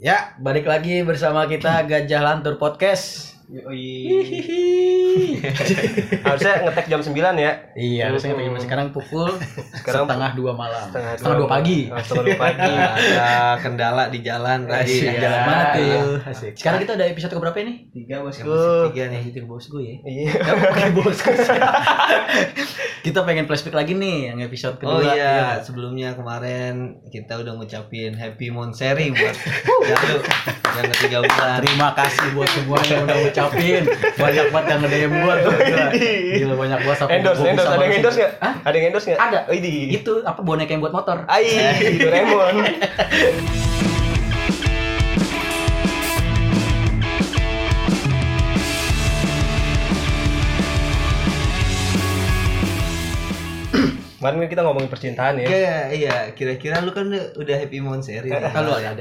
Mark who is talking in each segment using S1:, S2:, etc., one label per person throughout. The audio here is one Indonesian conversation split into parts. S1: Ya, balik lagi bersama kita Gajah Lantur Podcast.
S2: Yoi. Harusnya ngetek jam 9 ya.
S1: Iya, harusnya kita
S2: Mm-mm.
S1: jam- sekarang pukul
S2: Sekarang
S1: setengah dua malam, setengah, dua, pagi.
S2: Oh, Setengah dua pagi.
S3: ada kendala di jalan tadi kan.
S1: Asik.
S3: jalan
S1: Mana tuh?
S3: Iya. asik
S1: Sekarang kita ada episode keberapa ini?
S2: Tiga
S3: Masih
S2: bosku.
S3: tiga nih
S1: Lanjutin bos gue ya.
S2: Iya.
S1: Bukan bosku. kita pengen flashback lagi nih yang episode kedua.
S3: Oh iya, sebelumnya kemarin kita udah ngucapin happy moon sharing buat Jalu yang ketiga bulan.
S1: Terima kasih buat semua yang udah ngucapin. Banyak banget yang nge-DM gua tuh. Gila, Gila, banyak banget sampai
S2: Endorse,
S1: gua bisa
S2: endorse. Ada yang
S1: langsung-
S2: endorse nggak?
S1: Hah?
S2: Ada yang endorse nggak?
S1: Ada.
S2: Oh, ini.
S1: Itu apa boneka yang buat motor?
S2: Ai, Doraemon. Kemarin kan kita ngomongin percintaan ya.
S3: Iya, iya, kira-kira lu kan udah happy moon sharing. ya.
S1: Kalau ada.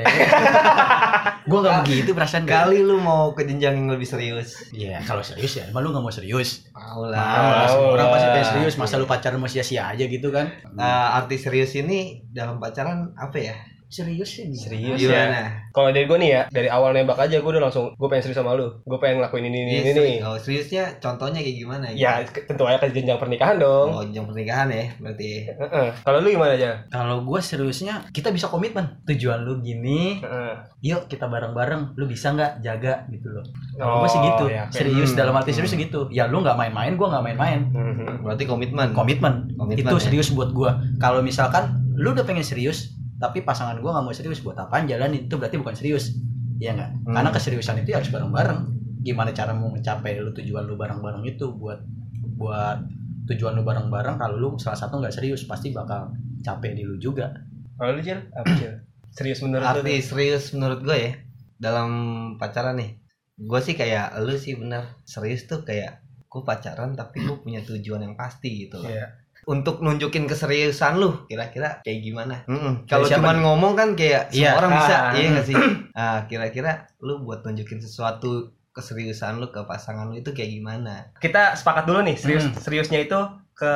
S1: Gua nggak begitu perasaan gua.
S3: Kali lu mau ke jenjang yang lebih serius.
S1: Iya, kalau serius ya, emang lu gak mau serius.
S3: Mau
S1: Nah,
S2: Mau.
S3: lah.
S1: semua orang pasti
S2: lah.
S1: pengen
S3: iya.
S1: serius, masa lu pacaran mau sia-sia aja gitu kan?
S3: Nah, arti serius ini dalam pacaran apa ya?
S1: Serius sih. Iya.
S2: Serius ya.
S3: Gimana?
S2: Kalau dari gue nih ya, dari awal nembak aja gue udah langsung gue pengen serius sama lu. Gue pengen ngelakuin ini ini ini.
S3: Iya,
S2: nih.
S3: seri- oh, seriusnya contohnya kayak gimana
S2: Ya ke- tentu aja ke jenjang pernikahan dong.
S3: Oh, jenjang pernikahan ya, berarti.
S2: Heeh. Kalau lu gimana aja?
S1: Kalau gua seriusnya, kita bisa komitmen. Tujuan lu gini,
S2: Heeh.
S1: yuk kita bareng-bareng. Lu bisa nggak jaga gitu loh. Kalau gua sih gitu,
S2: ya, oke.
S1: serius
S3: Oh, Hmm.
S1: dalam arti serius
S3: Hmm.
S1: gitu. Ya lu nggak main-main, gua nggak main-main.
S2: Mhm.
S3: Berarti komitmen.
S1: Komitmen.
S3: Komitmen,
S1: Itu
S3: ya.
S1: serius buat gua. Kalau misalkan lu udah pengen serius, tapi pasangan gua nggak mau serius buat apaan jalanin itu berarti bukan serius. Iya nggak?
S3: Hmm.
S1: Karena keseriusan itu ya harus bareng-bareng. Gimana cara mau mencapai lu tujuan lu bareng-bareng itu buat buat tujuan lu bareng-bareng kalau lu salah satu nggak serius pasti bakal capek di lu juga.
S2: Kalau lu Cil, apa Cil? Serius menurut lu?
S3: arti serius menurut gue ya dalam pacaran nih gue sih kayak lu sih bener serius tuh kayak gue pacaran tapi gue punya tujuan yang pasti gitu loh.
S2: Iya.
S3: untuk nunjukin keseriusan lu kira-kira kayak gimana Mm-mm. kalau
S1: siapa
S3: cuman ngomong kan kayak
S1: Iya.
S3: semua orang bisa
S2: Ah.
S3: iya gak sih Ah, kira-kira lu buat nunjukin sesuatu keseriusan lu ke pasangan lu itu kayak gimana
S2: Kita sepakat dulu nih, serius
S1: Hmm.
S2: seriusnya itu ke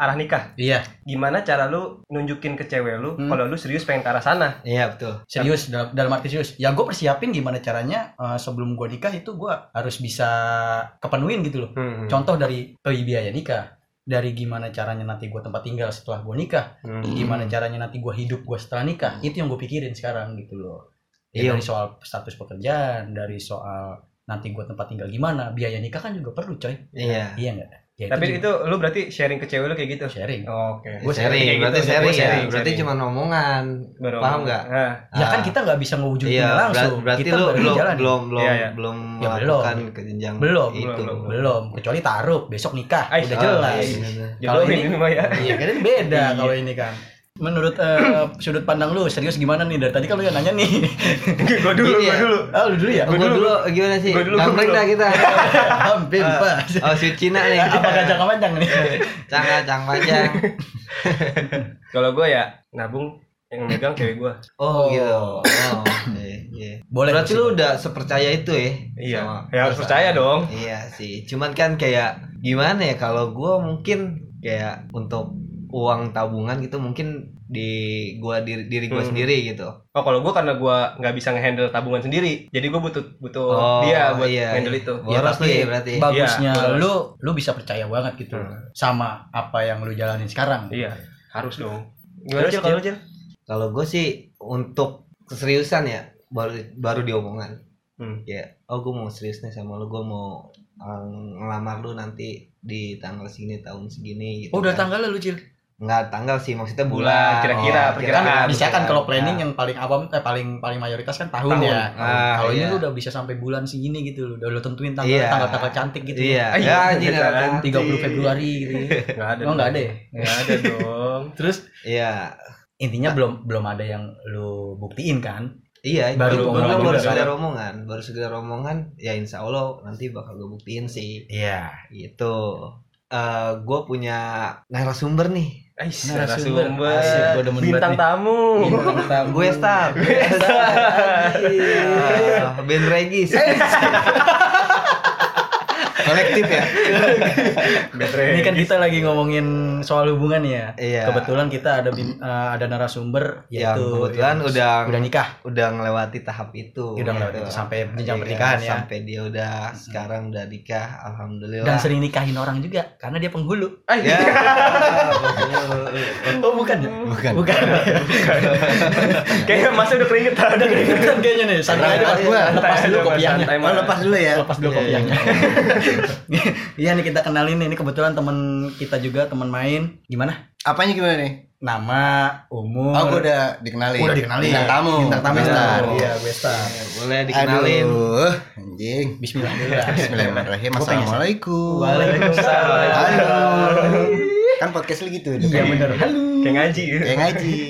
S2: arah nikah.
S1: Iya,
S2: Gimana cara lu nunjukin ke cewek lu
S1: Hmm.
S2: kalau lu serius pengen ke arah sana?
S3: iya betul
S1: serius dalam, dalam arti serius. Ya gue persiapin gimana caranya eh, sebelum gua nikah itu gua harus bisa kepenuhin gitu loh.
S2: Hmm.
S1: Contoh dari eh, biaya nikah, dari gimana caranya nanti gue tempat tinggal setelah gue nikah,
S2: Hmm.
S1: gimana caranya nanti gue hidup gue setelah nikah, itu yang gue pikirin sekarang gitu loh. Ya,
S3: Iya.
S1: Dari soal status pekerjaan, dari soal nanti gue tempat tinggal gimana, biaya nikah kan juga perlu coy.
S3: iya
S1: Iya nggak? Ya,
S2: Tapi
S1: juga
S2: itu lu berarti sharing ke cewek lu kayak gitu.
S1: sharing.
S2: Oke.
S1: Gua
S3: Ya, sharing,
S2: sharing kayak
S3: berarti
S2: gitu,
S3: sharing,
S2: gua sharing,
S3: ya berarti
S2: sharing.
S3: cuma omongan
S2: Baru
S3: Paham
S2: ngomong.
S3: nggak?
S2: Ah.
S1: Ya kan
S3: Ah.
S1: kita nggak bisa ngewujudin
S3: Iya, ber-
S1: langsung.
S3: berarti
S1: kita
S3: lu
S1: baru
S3: belum
S1: jalan.
S3: belum belum
S2: Iya, iya.
S3: belum
S1: Ya, belum.
S3: melakukan ke jenjang
S1: Belum,
S3: itu.
S2: belum, belum.
S1: Belum, kecuali taruh, besok nikah,
S2: Ay,
S1: udah
S3: Ah,
S1: jelas.
S3: iya, bener.
S1: Kalau
S2: Jodohin
S1: ini-
S2: ini mah ya.
S1: Iya kan ini beda kalau ini kan. Menurut eh, sudut pandang lu serius gimana nih dari tadi kan lu yang nanya nih.
S2: Gua dulu, gua
S3: Iya.
S2: dulu.
S1: ah lu dulu ya.
S3: Oh, gua dulu gimana sih?
S2: Gua dulu, gua
S3: Gampang
S2: dulu.
S3: dah kita.
S1: Hampir
S3: Eh,
S1: pas.
S3: Oh, si Cina nih.
S1: Apa kacang panjang nih?
S3: Canga, cang panjang.
S2: Kalau gua ya nabung yang megang cewek gua.
S1: Oh.
S3: Oh, gitu. Oh, iya, iya.
S1: Boleh. sih.
S3: Berarti lu udah sepercaya itu ya?
S2: Iya.
S3: sama
S2: Ya harus
S3: pasangan.
S2: percaya dong.
S3: Iya sih. Cuman kan kayak gimana ya kalau gua mungkin kayak untuk uang tabungan gitu mungkin di gua diri, diri gua
S2: Hmm.
S3: sendiri gitu.
S2: Oh kalau gue karena gue nggak bisa ngehandle tabungan sendiri, jadi gue butuh butuh
S3: Oh,
S2: dia buat
S3: iya,
S2: handle
S3: iya.
S2: itu.
S3: Boros
S1: tapi
S3: lu ya berarti.
S1: Bagusnya
S2: Iya, boros.
S1: lu lu bisa percaya banget gitu
S2: Hmm.
S1: sama apa yang lu jalanin sekarang.
S2: Iya, harus dong. Gimana
S1: Terus,
S2: Cil, kalau Cil?
S3: Kalau gue sih untuk keseriusan ya baru baru diomongan.
S2: Hmm.
S3: Ya, oh gue mau serius nih sama lu, gue mau um, ngelamar lu nanti di tanggal segini tahun segini gitu.
S1: Oh, udah
S3: kan.
S1: tanggal lu Cil.
S3: Nggak tanggal sih, maksudnya
S2: Bulan,
S3: bulan.
S2: kira-kira,
S3: Oh,
S2: perkiraan.
S3: kira-kira, Nah,
S1: Bisa kan
S3: perkiraan.
S1: kalau planning yang paling awam eh paling paling mayoritas kan tahun,
S2: Tahun.
S1: ya.
S3: Iya. Ah,
S1: kalau
S3: iya.
S1: ini lu udah bisa sampai bulan segini gitu lu udah lu tentuin tanggal
S3: Iya.
S1: tanggal-tanggal cantik gitu.
S3: Iya,
S2: Ah,
S3: ya,
S2: iya,
S3: anjing,
S2: perkiraan.
S3: ada hati.
S1: 30 Februari gitu.
S2: Nggak ada.
S1: Oh enggak ada. ya?
S2: Nggak ada dong.
S1: Terus
S3: Iya.
S1: intinya belum belum ada yang lu buktiin kan?
S3: Iya,
S1: Baru
S3: baru baru,
S1: omongan
S3: baru,
S1: juga,
S3: sekedar omongan, baru sekedar omongan, ya insya Allah nanti bakal gue buktiin sih,
S1: Iya.
S3: gitu. Eh, gue punya narasumber nih,
S2: Ais,
S1: Narasumber.
S2: narasumber,
S1: Asik, gua Iya. demen banget
S2: bintang
S1: nih.
S2: tamu.
S3: Oh.
S1: Hmm.
S3: gue staff.
S1: Iya.
S3: Eh,
S1: Eh.
S3: Ah, Ben Regis. kolektif ya
S1: Ini
S2: Betre.
S1: kan kita lagi ngomongin soal hubungan ya.
S3: iya
S1: Kebetulan kita ada bim- eh, ada narasumber
S3: yang
S1: yaitu
S3: kebetulan
S1: yang
S3: udah
S1: udah nikah.
S3: udah ngelewati tahap itu
S1: Udah melewati
S3: Gitu.
S1: sampai jenjang
S3: Iya,
S1: pernikahan ya.
S3: sampai dia udah sekarang udah nikah alhamdulillah
S1: Dan sering nikahin orang juga karena dia penghulu.
S3: ya
S1: Oh bukan ya?
S3: bukan
S1: Bukan.
S2: Kayaknya Mas udah keringetan.
S1: Ada keringetan kayaknya nih. Santai aja Mas.
S3: Santai,
S1: Lepas dulu
S2: santai,
S1: kopiahnya.
S2: santai, Mas.
S1: lepas dulu ya. Lepas dulu
S3: Iya, iya.
S1: kopiahnya. Iya nih kita kenalin nih. Ini kebetulan teman kita juga teman main. Gimana?
S4: Apanya gimana nih?
S1: Nama, umur.
S4: Oh, gue udah dikenalin.
S1: Udah dikenalin.
S4: Bintang tamu.
S1: Bintang tamu Star.
S4: Aduh.
S1: Iya, gue Star.
S3: boleh dikenalin
S4: Aduh, anjing.
S1: Bismillah dulu lah.
S4: Bismillahirrahmanirrahim.
S1: Gua pengen-
S4: Assalamualaikum.
S2: Waalaikumsalam.
S4: Halo. Kan podcastnya gitu.
S1: Iya bener. Halo.
S2: Kayak ngaji.
S4: Kayak ngaji.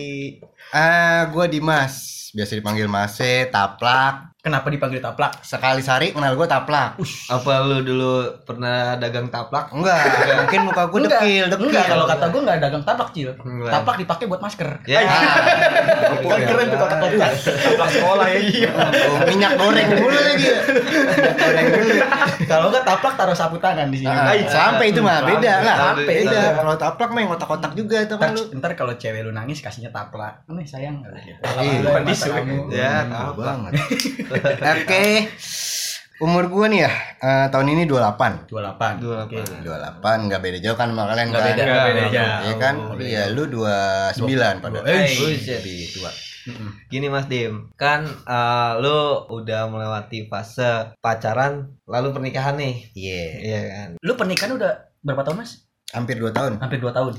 S4: Ah, gue Dimas. Biasa dipanggil Mase, Taplak.
S1: Kenapa dipanggil taplak?
S4: Sekali sehari kenal gue Taplak.
S3: apa lu dulu pernah dagang taplak
S4: Enggak, mungkin muka gue
S1: Enggak.
S4: dekil, dekil.
S1: Enggak, kalau kata gue nggak dagang taplak, Cil.
S3: Enggak.
S1: Taplak dipakai buat masker.
S3: ya
S4: Ah,
S1: Kan keren tuh kata-kata.
S2: Sekolah sekolah ya.
S4: Oh, minyak goreng mulu lagi. ya. Minyak goreng mulu.
S1: Kalau nggak taplak taruh sapu tangan di sini.
S4: Ah, sampai itu mah beda lah.
S3: Sampai.
S4: Beda. Kalau taplak mah yang kotak-kotak juga itu kan
S1: Ntar,
S4: lu.
S1: ntar kalau cewek lu nangis kasihnya taplak. Nih sayang.
S4: Iya,
S1: Mata
S2: tisu.
S1: kamu. Iya,
S3: ya
S4: Tahu
S3: taplak
S4: banget. Oke. Umur gua nih ya, eh, tahun ini 28.
S1: 28.
S3: Dua
S1: Oke.
S3: delapan.
S4: 28 nggak beda jauh kan sama kalian
S1: Nggak
S4: kan?
S1: beda.
S2: Nggak beda
S1: jauh.
S4: Iya kan?
S1: Nggak beda
S4: Iya, lu 29 pada.
S1: Dua- Eh,
S3: buset.
S4: lebih tua.
S1: Mm-mm.
S3: Gini Mas Dim, kan eh, lu udah melewati fase pacaran lalu pernikahan nih.
S4: Iya,
S3: Iya kan?
S1: Lu pernikahan udah berapa tahun, Mas?
S4: hampir 2 tahun.
S1: Hampir 2 tahun.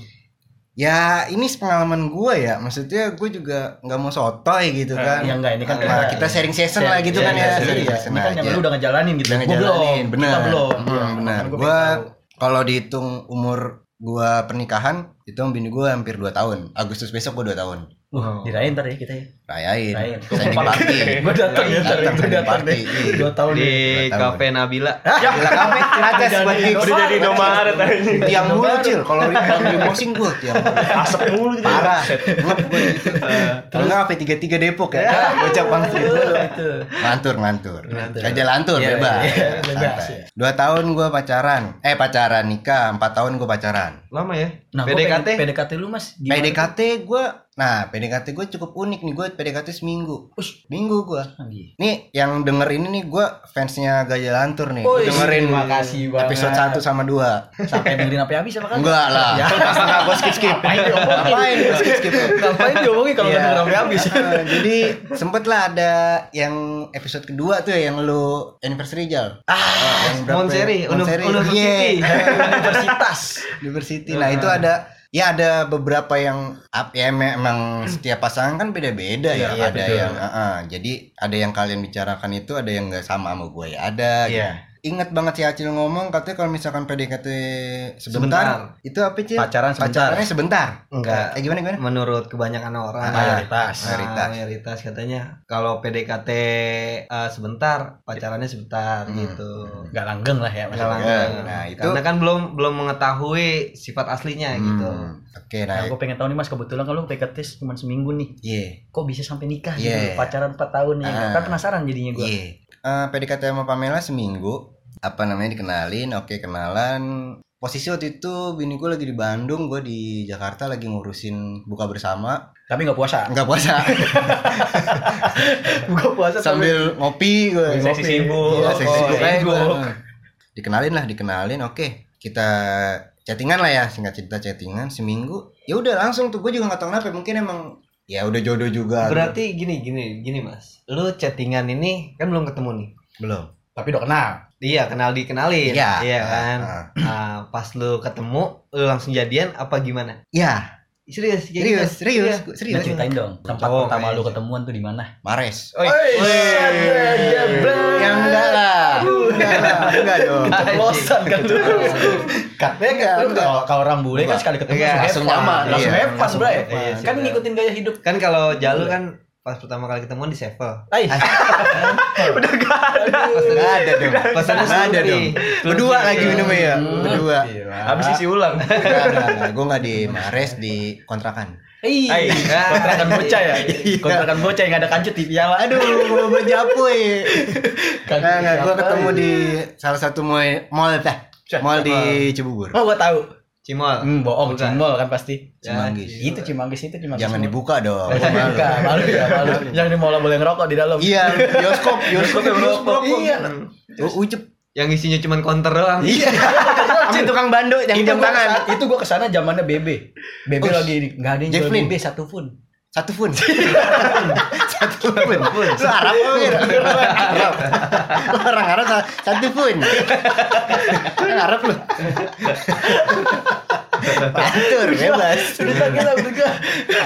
S4: Ya, ini pengalaman gua ya. Maksudnya gua juga nggak mau sotoy gitu kan.
S1: Ya enggak, ini kan
S4: Nah, kita sharing session lah gitu kan ya.
S1: Iya,
S4: Sharing
S1: iya.
S4: session
S1: Ini kan yang
S4: aja.
S1: lu udah ngejalanin gitu.
S4: Udah
S1: Gua
S4: ngejalanin,
S1: belum.
S4: bener.
S1: Kita belum.
S4: Hmm,
S1: Iya,
S4: bener.
S1: makanya gua
S4: Gua-
S1: pengen tahu.
S4: Kalau dihitung umur gua pernikahan, itu bini gua hampir 2 tahun. Agustus besok gua 2 tahun.
S1: Wah, dirayain ntar ya kita ya.
S4: Rayain.
S1: Rayain.
S4: Sending party.
S1: Gue datang ya,
S4: Datang
S1: datang
S4: sending
S1: datang
S4: party.
S1: deh. Dua tahun Iya,
S3: Di
S1: nih.
S4: Dua tahun.
S3: kafe Nabila.
S4: Iya. Gila kafe gratis buat gigs.
S2: Udah jadi Indomaret aja.
S4: Tiang mulu cil kalau kalau di mosing gua tiang. mulu.
S2: Asap mulu gitu.
S4: Parah. Ngep gua gitu. Kalau enggak kafe 33 Depok ya. Nah, Bocah pangsi.
S1: Itu, itu.
S4: Ngantur ngantur.
S1: Ngantur.
S4: Aja lantur
S1: gitu. Iya, iya,
S4: bebas.
S1: iya,
S4: Santai.
S1: bebas, ya.
S4: Dua tahun gua pacaran. Eh pacaran nikah, empat tahun gua pacaran.
S3: Lama ya?
S1: Nah, gua
S3: PDKT?
S1: pengen- PDKT lu mas gimana tuh?
S4: PDKT gua nah PDKT gua cukup unik nih gua PDKT seminggu.
S1: Ush.
S4: Minggu gua.
S1: Canggih.
S4: Nih yang denger ini nih gua fansnya Gajah Lantur nih.
S1: Wih,
S4: dengerin
S1: makasih banget.
S4: episode 1 sama 2.
S1: sampai dengerin sampai habis apa kan
S4: Enggak lah.
S1: Ya.
S4: Enggak gua skip-skip.
S1: Ngapain diomongin?
S4: Ngapain gua skip-skip?
S1: ngapain diomongin kalau
S4: Iya.
S1: nggak dengerin sampai habis
S4: Eh, Jadi sempet lah ada yang episode kedua tuh ya yang lu anniversary Jal. Ah, yang
S3: Monseri,
S4: Mon Seri.
S3: Unu- University.
S4: Iya,
S1: universitas
S4: University. Nah, itu ada ya ada beberapa yang up ya me- emang setiap pasangan kan beda-beda ya.
S1: Iya,
S4: ada
S1: betul.
S4: yang heeh. jadi ada yang kalian bicarakan itu ada yang nggak sama sama gue ya ada.
S1: Iya.
S4: Ingat banget si Acil ngomong katanya kalau misalkan PDKT sebentar, itu apa sih?
S1: pacaran sebentar
S4: Pacarannya sebentar.
S3: Enggak.
S4: Eh gimana gimana?
S3: Menurut kebanyakan orang.
S4: Ah.
S1: ya? mayoritas
S4: Mayoritas.
S3: Nah, mayoritas katanya kalau PDKT eh, sebentar pacarannya sebentar
S4: Hmm.
S3: gitu.
S1: nggak langgeng lah ya mas
S3: Nggak
S4: Iya,
S3: langgeng.
S4: nah, itu-
S3: Karena kan belum belum mengetahui sifat aslinya gitu.
S4: Hmm, Oke,
S1: Nah,
S4: nah.
S1: gue pengen tahu nih mas kebetulan kalau PDKT cuma seminggu nih
S4: Iya.
S1: kok bisa sampai nikah
S4: Iya.
S1: gitu pacaran 4 tahun ya
S4: Ah.
S1: kan penasaran jadinya gue
S4: Iya. Eh, PDKT sama Pamela seminggu apa namanya dikenalin, oke kenalan. Posisi waktu itu bini gue lagi di Bandung, gue di Jakarta lagi ngurusin buka bersama,
S1: tapi nggak puasa
S4: nggak puasa,
S1: buka puasa sambil
S4: sambil ngopi gue.
S2: Seksi sibuk.
S4: Iya, seksi
S1: Oh,
S4: sibuk aja
S1: sibuk.
S4: gua. Heeh. Dikenalin lah, dikenalin. Oke, kita chattingan lah ya, singkat cerita chattingan seminggu. Ya udah langsung tuh gue juga nggak tahu kenapa, mungkin emang ya udah jodoh juga.
S3: Berarti gini gini gini Mas. Lu chattingan ini kan belum ketemu nih.
S4: belum.
S1: tapi udah kenal
S3: Iya kenal dikenalin
S4: Iya.
S3: Iya kan
S4: Ah, ah.
S3: Ah, Pas lu ketemu Lu langsung jadian apa gimana?
S4: Iya,
S3: Serius? kayak gitu?
S4: serius, serius,
S3: Iya.
S4: gua-
S1: Nah,
S4: serius.
S1: ceritain dong tempat
S4: Oh,
S3: Cowok
S4: iya.
S1: pertama lu
S3: kayaknya.
S1: ketemuan tuh di mana?
S4: Mares.
S2: Oi.
S4: Iya, Yang enggak lah. Enggak lah, enggak dong.
S1: Keceplosan kan lu. Katanya kan
S4: Enggak,
S1: lu
S4: enggak. Iya,
S1: kalau- kalau orang bule kan sekali ketemu
S3: Enggak,
S4: langsung
S1: have fun.
S4: nyaman.
S1: langsung
S4: Iya,
S1: hepas,
S4: langsung
S1: Bray.
S4: have fun.
S1: Iya, Kan
S3: sudah.
S1: ngikutin gaya hidup.
S3: Kan kalau Jalu kan Pas pertama kali ketemuan di Sevel
S1: Ai. Udah gak ada.
S4: Enggak ada dong.
S3: Pesannya
S4: Enggak ada
S3: sendiri.
S4: dong. Berdua lagi minumnya ya. Berdua.
S1: Gila.
S2: Habis isi ulang.
S4: Enggak, enggak, enggak. Gua enggak di Mares di kontrakan.
S1: Iya.
S2: Hai,
S1: Kontrakan bocah ya. Kontrakan bocah yang ada kancut di piala.
S4: Aduh, mau belanja apa ya?
S1: Kancut
S4: Nah, nah, gue
S1: siapa
S4: ketemu
S1: ya?
S4: di salah satu mall, mall dah, mall di Cibubur.
S1: Oh, gua tahu.
S3: Cimol.
S1: Hmm, bohong,
S3: Bukan.
S1: cimol kan pasti.
S4: Cimanggis.
S1: Itu Cimanggis itu Cimanggis.
S4: ya, Iya. Jangan
S1: Cimol.
S4: dibuka dong.
S1: Jangan
S4: malu.
S1: dibuka, malu ya, malu. Yang di mall boleh ngerokok di dalam.
S4: Iya, bioskop, bioskop, bioskop.
S1: Iya.
S4: Oh, ucep.
S3: Yang isinya cuman counter doang.
S4: Iya. Sama tukang bandut yang
S1: Itu
S4: jam
S1: gua
S4: tangan.
S1: kesana- Itu gua kesana zamannya BB. BB
S4: Ush.
S1: lagi nggak ada yang jual
S4: Jacqueline.
S1: BB satu pun.
S4: Satu pun. Satu pun. Lu Arab apa gitu? Lu orang Arab. Lu Orang Arab sa- satu pun. Orang Arab lu. Atur bebas.
S1: Udah kita udah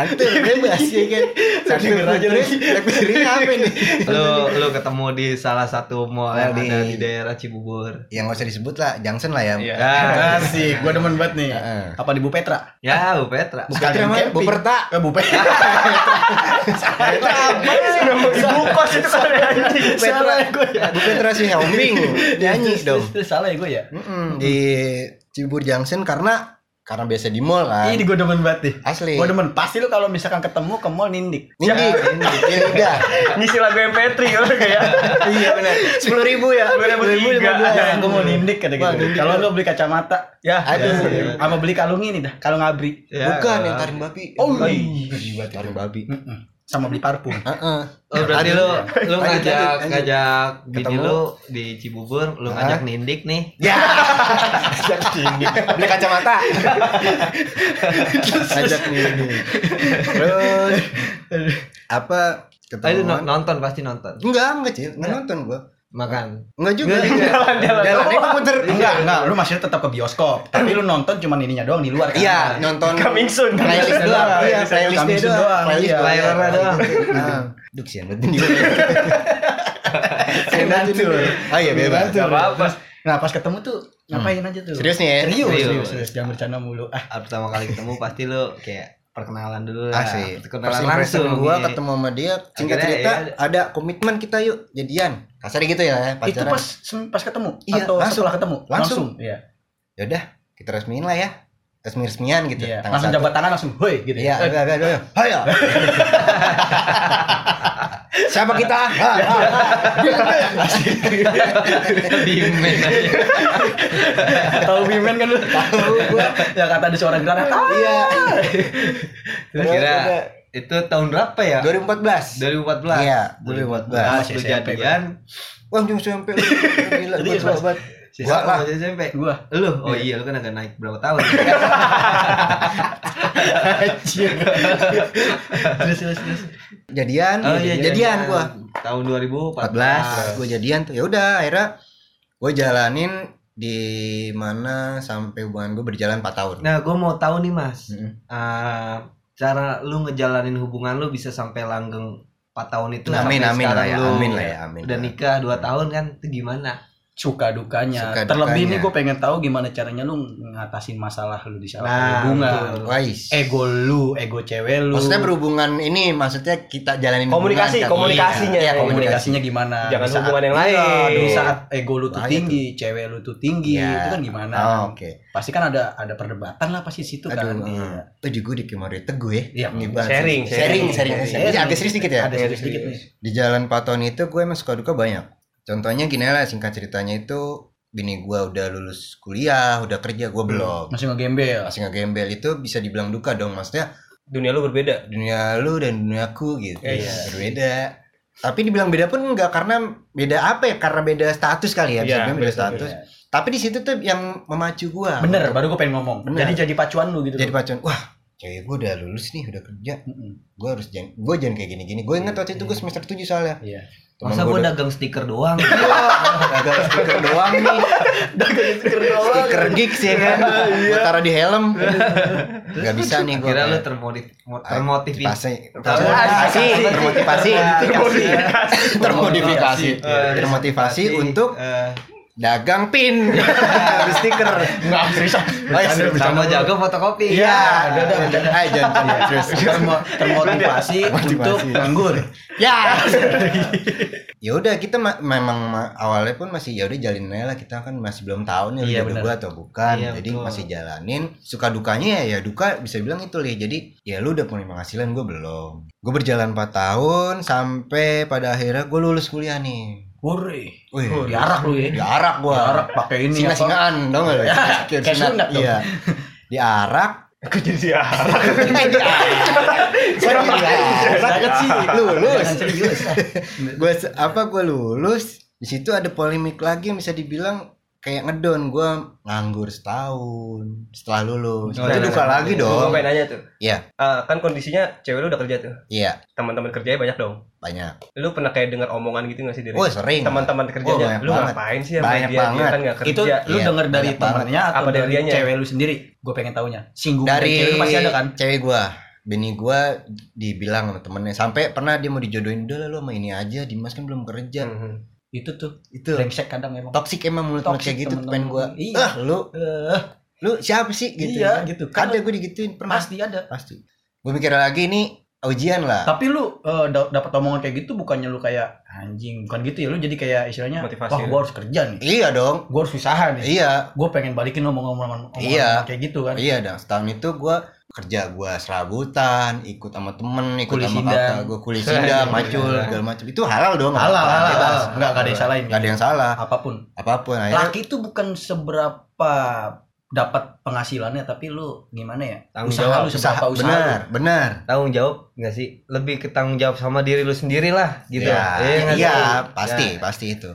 S4: Atur bebas ya kan. Satu
S1: Denger
S4: pun.
S1: aja
S4: Terus
S1: lagi.
S4: yang piringnya apa nih?
S3: Lu lu ketemu di salah satu mall yang
S4: Di-
S3: ada di daerah Cibubur.
S4: Yang Ya, nggak usah disebut lah, Johnson lah ya.
S2: Iya.
S3: Ya,
S1: Asik, gua demen banget nih.
S4: Heeh.
S1: Apa di Bu Petra?
S3: ya Bu Petra.
S4: Bukan namanya Bu Perta.
S1: Eh, Bu Petra.
S4: Itu apa sih?
S2: Ibu kos itu kan anjing.
S1: Salah ya gua ya.
S4: Bu Petra si Helming nyanyi
S1: Terus-
S4: dong.
S1: Terus salah ya gua ya.
S4: Mm-mm, di Cibubur Junction karena karena biasa di mall kan. Iya.
S1: Ini gua demen banget nih.
S4: Asli.
S1: Gua demen. Pasti lu kalau misalkan ketemu ke mall nindik.
S4: Nindi, Nindi lidah.
S2: Ngisi lagu MP3 kan kayak.
S4: Iya benar. Sepuluh ribu ya.
S2: 10.000,
S1: Ya, gue mau nindik kata
S4: Wah,
S1: gitu.
S4: nindik. Iya,
S1: Kalau lu beli kacamata, ya,
S4: Aduh.
S1: sama beli kalung ini dah, kalung abri.
S3: Ya,
S4: Bukan
S3: kalau-
S4: yang taring babi.
S1: Oh,
S4: iya. Taring babi.
S1: Mm-mm. Sama beli parfum.
S4: Heeh.
S3: Oh, berarti lu lu
S4: Lanjut, lanjut,
S3: ngajak
S4: lanjut.
S3: ngajak bini
S4: Ketemu.
S3: lu di Cibubur, lu
S4: Hah?
S3: ngajak nindik nih.
S4: Ya. Beli kacamata. Ajak Nindi. Terus apa
S3: Ah, itu no-
S4: ketemuan?
S3: nonton pasti nonton.
S4: Enggak, enggak sih. Enggak nonton gua.
S3: Makan.
S4: Enggak juga.
S3: Enggak juga.
S4: Jalan-jalan. Jalannya muter.
S1: Enggak, enggak, lu masih tetap ke bioskop, tapi lu nonton cuman ininya doang di luar kan.
S4: Iya,
S2: Oh,
S4: nonton
S2: Coming soon.
S4: playlist doang. Iya, playlist
S1: Coming soon doang,
S4: doang. Playlist
S1: iya.
S4: doang.
S3: Playlist doang.
S4: Nah, Duh, kesian banget ini. Kesian banget ini.
S1: Hancur.
S4: Oh iya, bebas.
S1: Hancur.
S2: Gak apa-apa.
S1: Nah, pas ketemu tuh ngapain aja tuh?
S4: Serius nih ya?
S1: Serius,
S3: Serius.
S1: serius, serius. Jangan bercanda mulu.
S4: Nah.
S1: Ah,
S3: Ah, Pertama kali ketemu pasti lu kayak perkenalan dulu lah.
S4: Asik.
S3: Perkenalan
S4: First impression
S3: langsung.
S4: gua
S3: Iya.
S4: ketemu Nah, sama dia, singkat
S3: Akhirnya
S4: cerita
S3: ya-
S4: ada komitmen kita yuk jadian. Kasarnya gitu ya,
S1: itu
S4: pacaran.
S1: pas sem- pas ketemu
S4: Iya,
S1: atau
S4: langsung.
S1: setelah ketemu?
S4: Langsung.
S1: Iya.
S4: Ya udah, kita resmiin lah ya. Resmi-resmian gitu.
S1: Iya.
S4: tanggal
S1: Langsung
S4: satu.
S1: jabat tangan langsung, "Hoi," gitu.
S4: Iya, agak agak agak. Hayo. Siapa kita? Ha, ha, ha.
S3: Bimen aja.
S1: Tahu Bimen kan lu? Tahu gua. Ya kata ada suara granat. Ah,
S4: Iya.
S3: Terus kira itu tahun berapa ya?
S4: 2014.
S3: 2014.
S4: Iya,
S1: 2014.
S3: 2014. Lu jadian.
S4: Wah, jam SMP. lu. Gila,
S1: Jadi,
S4: gua tua
S1: Mas.
S4: banget.
S3: Gua
S4: Gua lah.
S3: masih SMP.
S1: gua.
S3: Lu, oh iya lu kan agak naik berapa tahun.
S4: Iya,
S1: Terus terus terus.
S4: Jadian,
S1: Oh, iya,
S4: jadian gua.
S3: Tahun
S4: 14
S3: 2014.
S4: gue jadian tuh. Ya udah, akhirnya gue jalanin di mana sampai hubungan gue berjalan 4 tahun.
S3: Nah, gua mau tahu nih, Mas.
S4: Mm-mm.
S3: Eh, cara lu ngejalanin hubungan lu bisa sampai langgeng 4 tahun itu
S4: amin
S3: sampai
S4: amin lah
S3: sekarang
S4: ya,
S3: lu
S4: amin lah ya, amin.
S3: Udah nikah 2
S4: Iya.
S3: tahun kan, itu gimana?
S1: Suka dukanya.
S4: Suka
S1: Terlebih
S4: dukanya.
S1: ini gua pengen tahu gimana caranya lu ngatasin masalah lu di saat
S3: Nah,
S1: hubungan.
S3: betul.
S4: ya. Wais.
S1: Ego lu, ego cewek lu.
S4: Maksudnya berhubungan ini maksudnya kita jalanin
S2: Komunikasi,
S4: hubungan, kan?
S2: komunikasinya.
S4: Iya, komunikasi.
S1: komunikasinya gimana?
S2: Jangan
S1: Di saat-
S2: hubungan yang
S1: Iya,
S2: lain.
S1: Di saat ego lu tuh
S4: Bahaya
S1: tinggi, cewek lu tuh tinggi,
S4: Nah, gitu. Iya.
S1: itu kan gimana?
S4: Oh, oke.
S1: Pasti kan ada ada perdebatan lah pasti situ kan.
S4: Aduh,
S1: Iya.
S4: eh. Aduh, gue dikemari teguh ya.
S1: Iya,
S4: Ini banget.
S2: sharing,
S4: sharing, sharing,
S2: sharing.
S4: sharing. Ini Agak serius dikit ya.
S1: Ada
S2: Iya,
S1: serius sedikit nih.
S4: Di jalan paton itu gue emang suka duka banyak. Contohnya gini lah singkat ceritanya itu bini gue udah lulus kuliah, udah kerja, gue belum.
S1: Masih ngegembel.
S4: Masih ngegembel itu bisa dibilang duka dong maksudnya
S2: Dunia lu berbeda.
S4: dunia lu dan duniaku gitu.
S2: Iya.
S4: Berbeda. Tapi dibilang beda pun enggak karena beda apa ya? Karena beda status kali ya. bisa
S2: Iya,
S4: dibilang beda
S2: beda
S4: status.
S1: Iya.
S4: Tapi di situ tuh yang memacu gua.
S1: Bener, baru gue pengen ngomong.
S4: Ah, Bener.
S1: Jadi jadi pacuan lu gitu.
S4: Jadi pacuan. Wah, cewek gua udah lulus nih, udah kerja.
S1: Mm-mm.
S4: Gua harus jangan gua jangan kayak gini-gini. Gua ingat waktu itu gua semester 7 soalnya.
S1: Iya.
S4: Temen
S3: Masa
S4: gua
S3: gua
S4: udah
S3: dagang stiker doang?
S4: gagal stiker doang nih. Stiker gigs ya kan. Gua taruh di helm. Gak bisa nih gua.
S3: Kira lu
S4: kayak
S3: termotiv termotivasi.
S4: motivasi.
S3: Termotivasi. Iya,
S4: Termotivasi.
S3: Termotivasi.
S4: termodifikasi
S3: Eh,
S4: termotivasi untuk
S3: eh,
S4: dagang pin Habis stiker
S1: Enggak, serius.
S4: Oh, ya, serius.
S3: sama jago fotokopi
S4: Iya, udah udah udah. Ayo jangan jangan, serius.
S1: Termo- termotivasi
S4: Termotivasi.
S1: untuk nganggur.
S4: Ya. Ya udah kita ma- memang ma- awalnya pun masih ya udah jalin aja lah kita kan masih belum tahu nih
S1: Iya,
S4: jodoh
S1: benar.
S4: gua atau bukan.
S3: Iya,
S4: Jadi
S3: betul.
S4: masih jalanin. Suka dukanya ya ya duka bisa bilang itu lih. Jadi ya lu udah punya penghasilan gua belum. Gua berjalan 4 tahun sampai pada akhirnya gua lulus kuliah nih.
S1: Wuri,
S4: Wih,
S1: diarak lu ya.
S4: diarak gua.
S1: Diarak pakai ini apa?
S4: Iya. Singa
S1: Ya,
S4: singaan dong lu.
S1: kayak sunat dong.
S4: Iya. Diarak
S2: Aku jadi arah.
S4: Sorry,
S1: Jangan Iya. sih.
S4: lulus.
S1: Jangan serius.
S4: Gue apa gue lulus di situ ada polemik lagi yang bisa dibilang kayak ngedon gue nganggur setahun setelah lulus
S3: Oh,
S4: itu
S2: Nah,
S3: iya,
S4: duka
S3: iya.
S4: lagi
S2: Gue
S4: dong
S2: pengen nanya tuh.
S4: Iya.
S2: Eh, kan kondisinya cewek lu udah kerja tuh.
S4: iya
S2: Teman-teman kerjanya banyak dong.
S4: banyak
S2: Lu pernah kayak dengar omongan gitu gak sih dari
S4: oh sering
S2: teman-teman kerjanya?
S4: banyak
S2: lu
S4: banget.
S2: ngapain sih sama
S4: Banyak
S2: dia? Dia
S4: banget.
S2: kan gak kerja.
S1: Itu lu
S4: Iya,
S1: denger dari
S4: banyak banget.
S1: temennya atau
S2: Apa dari
S1: dari
S2: dianya?
S1: cewek lu sendiri? Gue pengen taunya. Singgung
S4: dari
S1: cewek lu pasti ada kan?
S4: cewek gue Bini gue dibilang sama temennya Sampai pernah dia mau dijodohin Udah lah lu sama ini aja Dimas kan belum kerja
S2: Mhm.
S1: Itu tuh
S4: Itu
S1: brengsek kadang emang.
S4: Toxic emang mulut mulut
S1: Toxic
S4: kayak gitu
S1: temen-temen.
S4: Pengen gue
S1: Iya.
S4: Ah lu
S1: Eh,
S4: Lu siapa sih gitu
S1: Iya, gitu. Kan
S4: Ada gue digituin Pernah
S1: pasti ada.
S4: pasti gue mikir lagi ini ujian lah
S1: Tapi lu eh, da- dapat omongan kayak gitu bukannya lu kayak anjing, bukan gitu ya lu jadi kayak istilahnya
S2: Motivasi.
S1: wah gua harus kerja nih.
S4: iya dong
S1: Gua harus usaha nih.
S4: iya
S1: Gue pengen balikin omong-omongan omongan
S4: Iya.
S1: kayak gitu kan.
S4: iya dong setahun itu gue kerja gue serabutan ikut sama temen ikut
S1: Kulis
S4: sama
S1: sindang.
S4: kakak gue kulis sindang macul segala macam itu halal dong
S1: Halal,
S4: apa-apa,
S1: halal,
S4: bebas.
S1: halal. Nggak, nggak ada yang salahin.
S4: nggak ada yang salah
S1: Apapun.
S4: apapun akhirnya
S1: Laki itu bukan seberapa dapat penghasilannya tapi lu gimana ya?
S3: Tanggung
S1: usaha
S3: jawab,
S1: lu
S4: usaha
S1: seberapa usaha.
S4: benar benar
S3: tanggung jawab nggak sih lebih ke tanggung jawab sama diri lu sendiri lah gitu
S4: Iya,
S3: Iya nggak
S4: iya
S3: sih?
S4: pasti
S3: Ya.
S4: pasti itu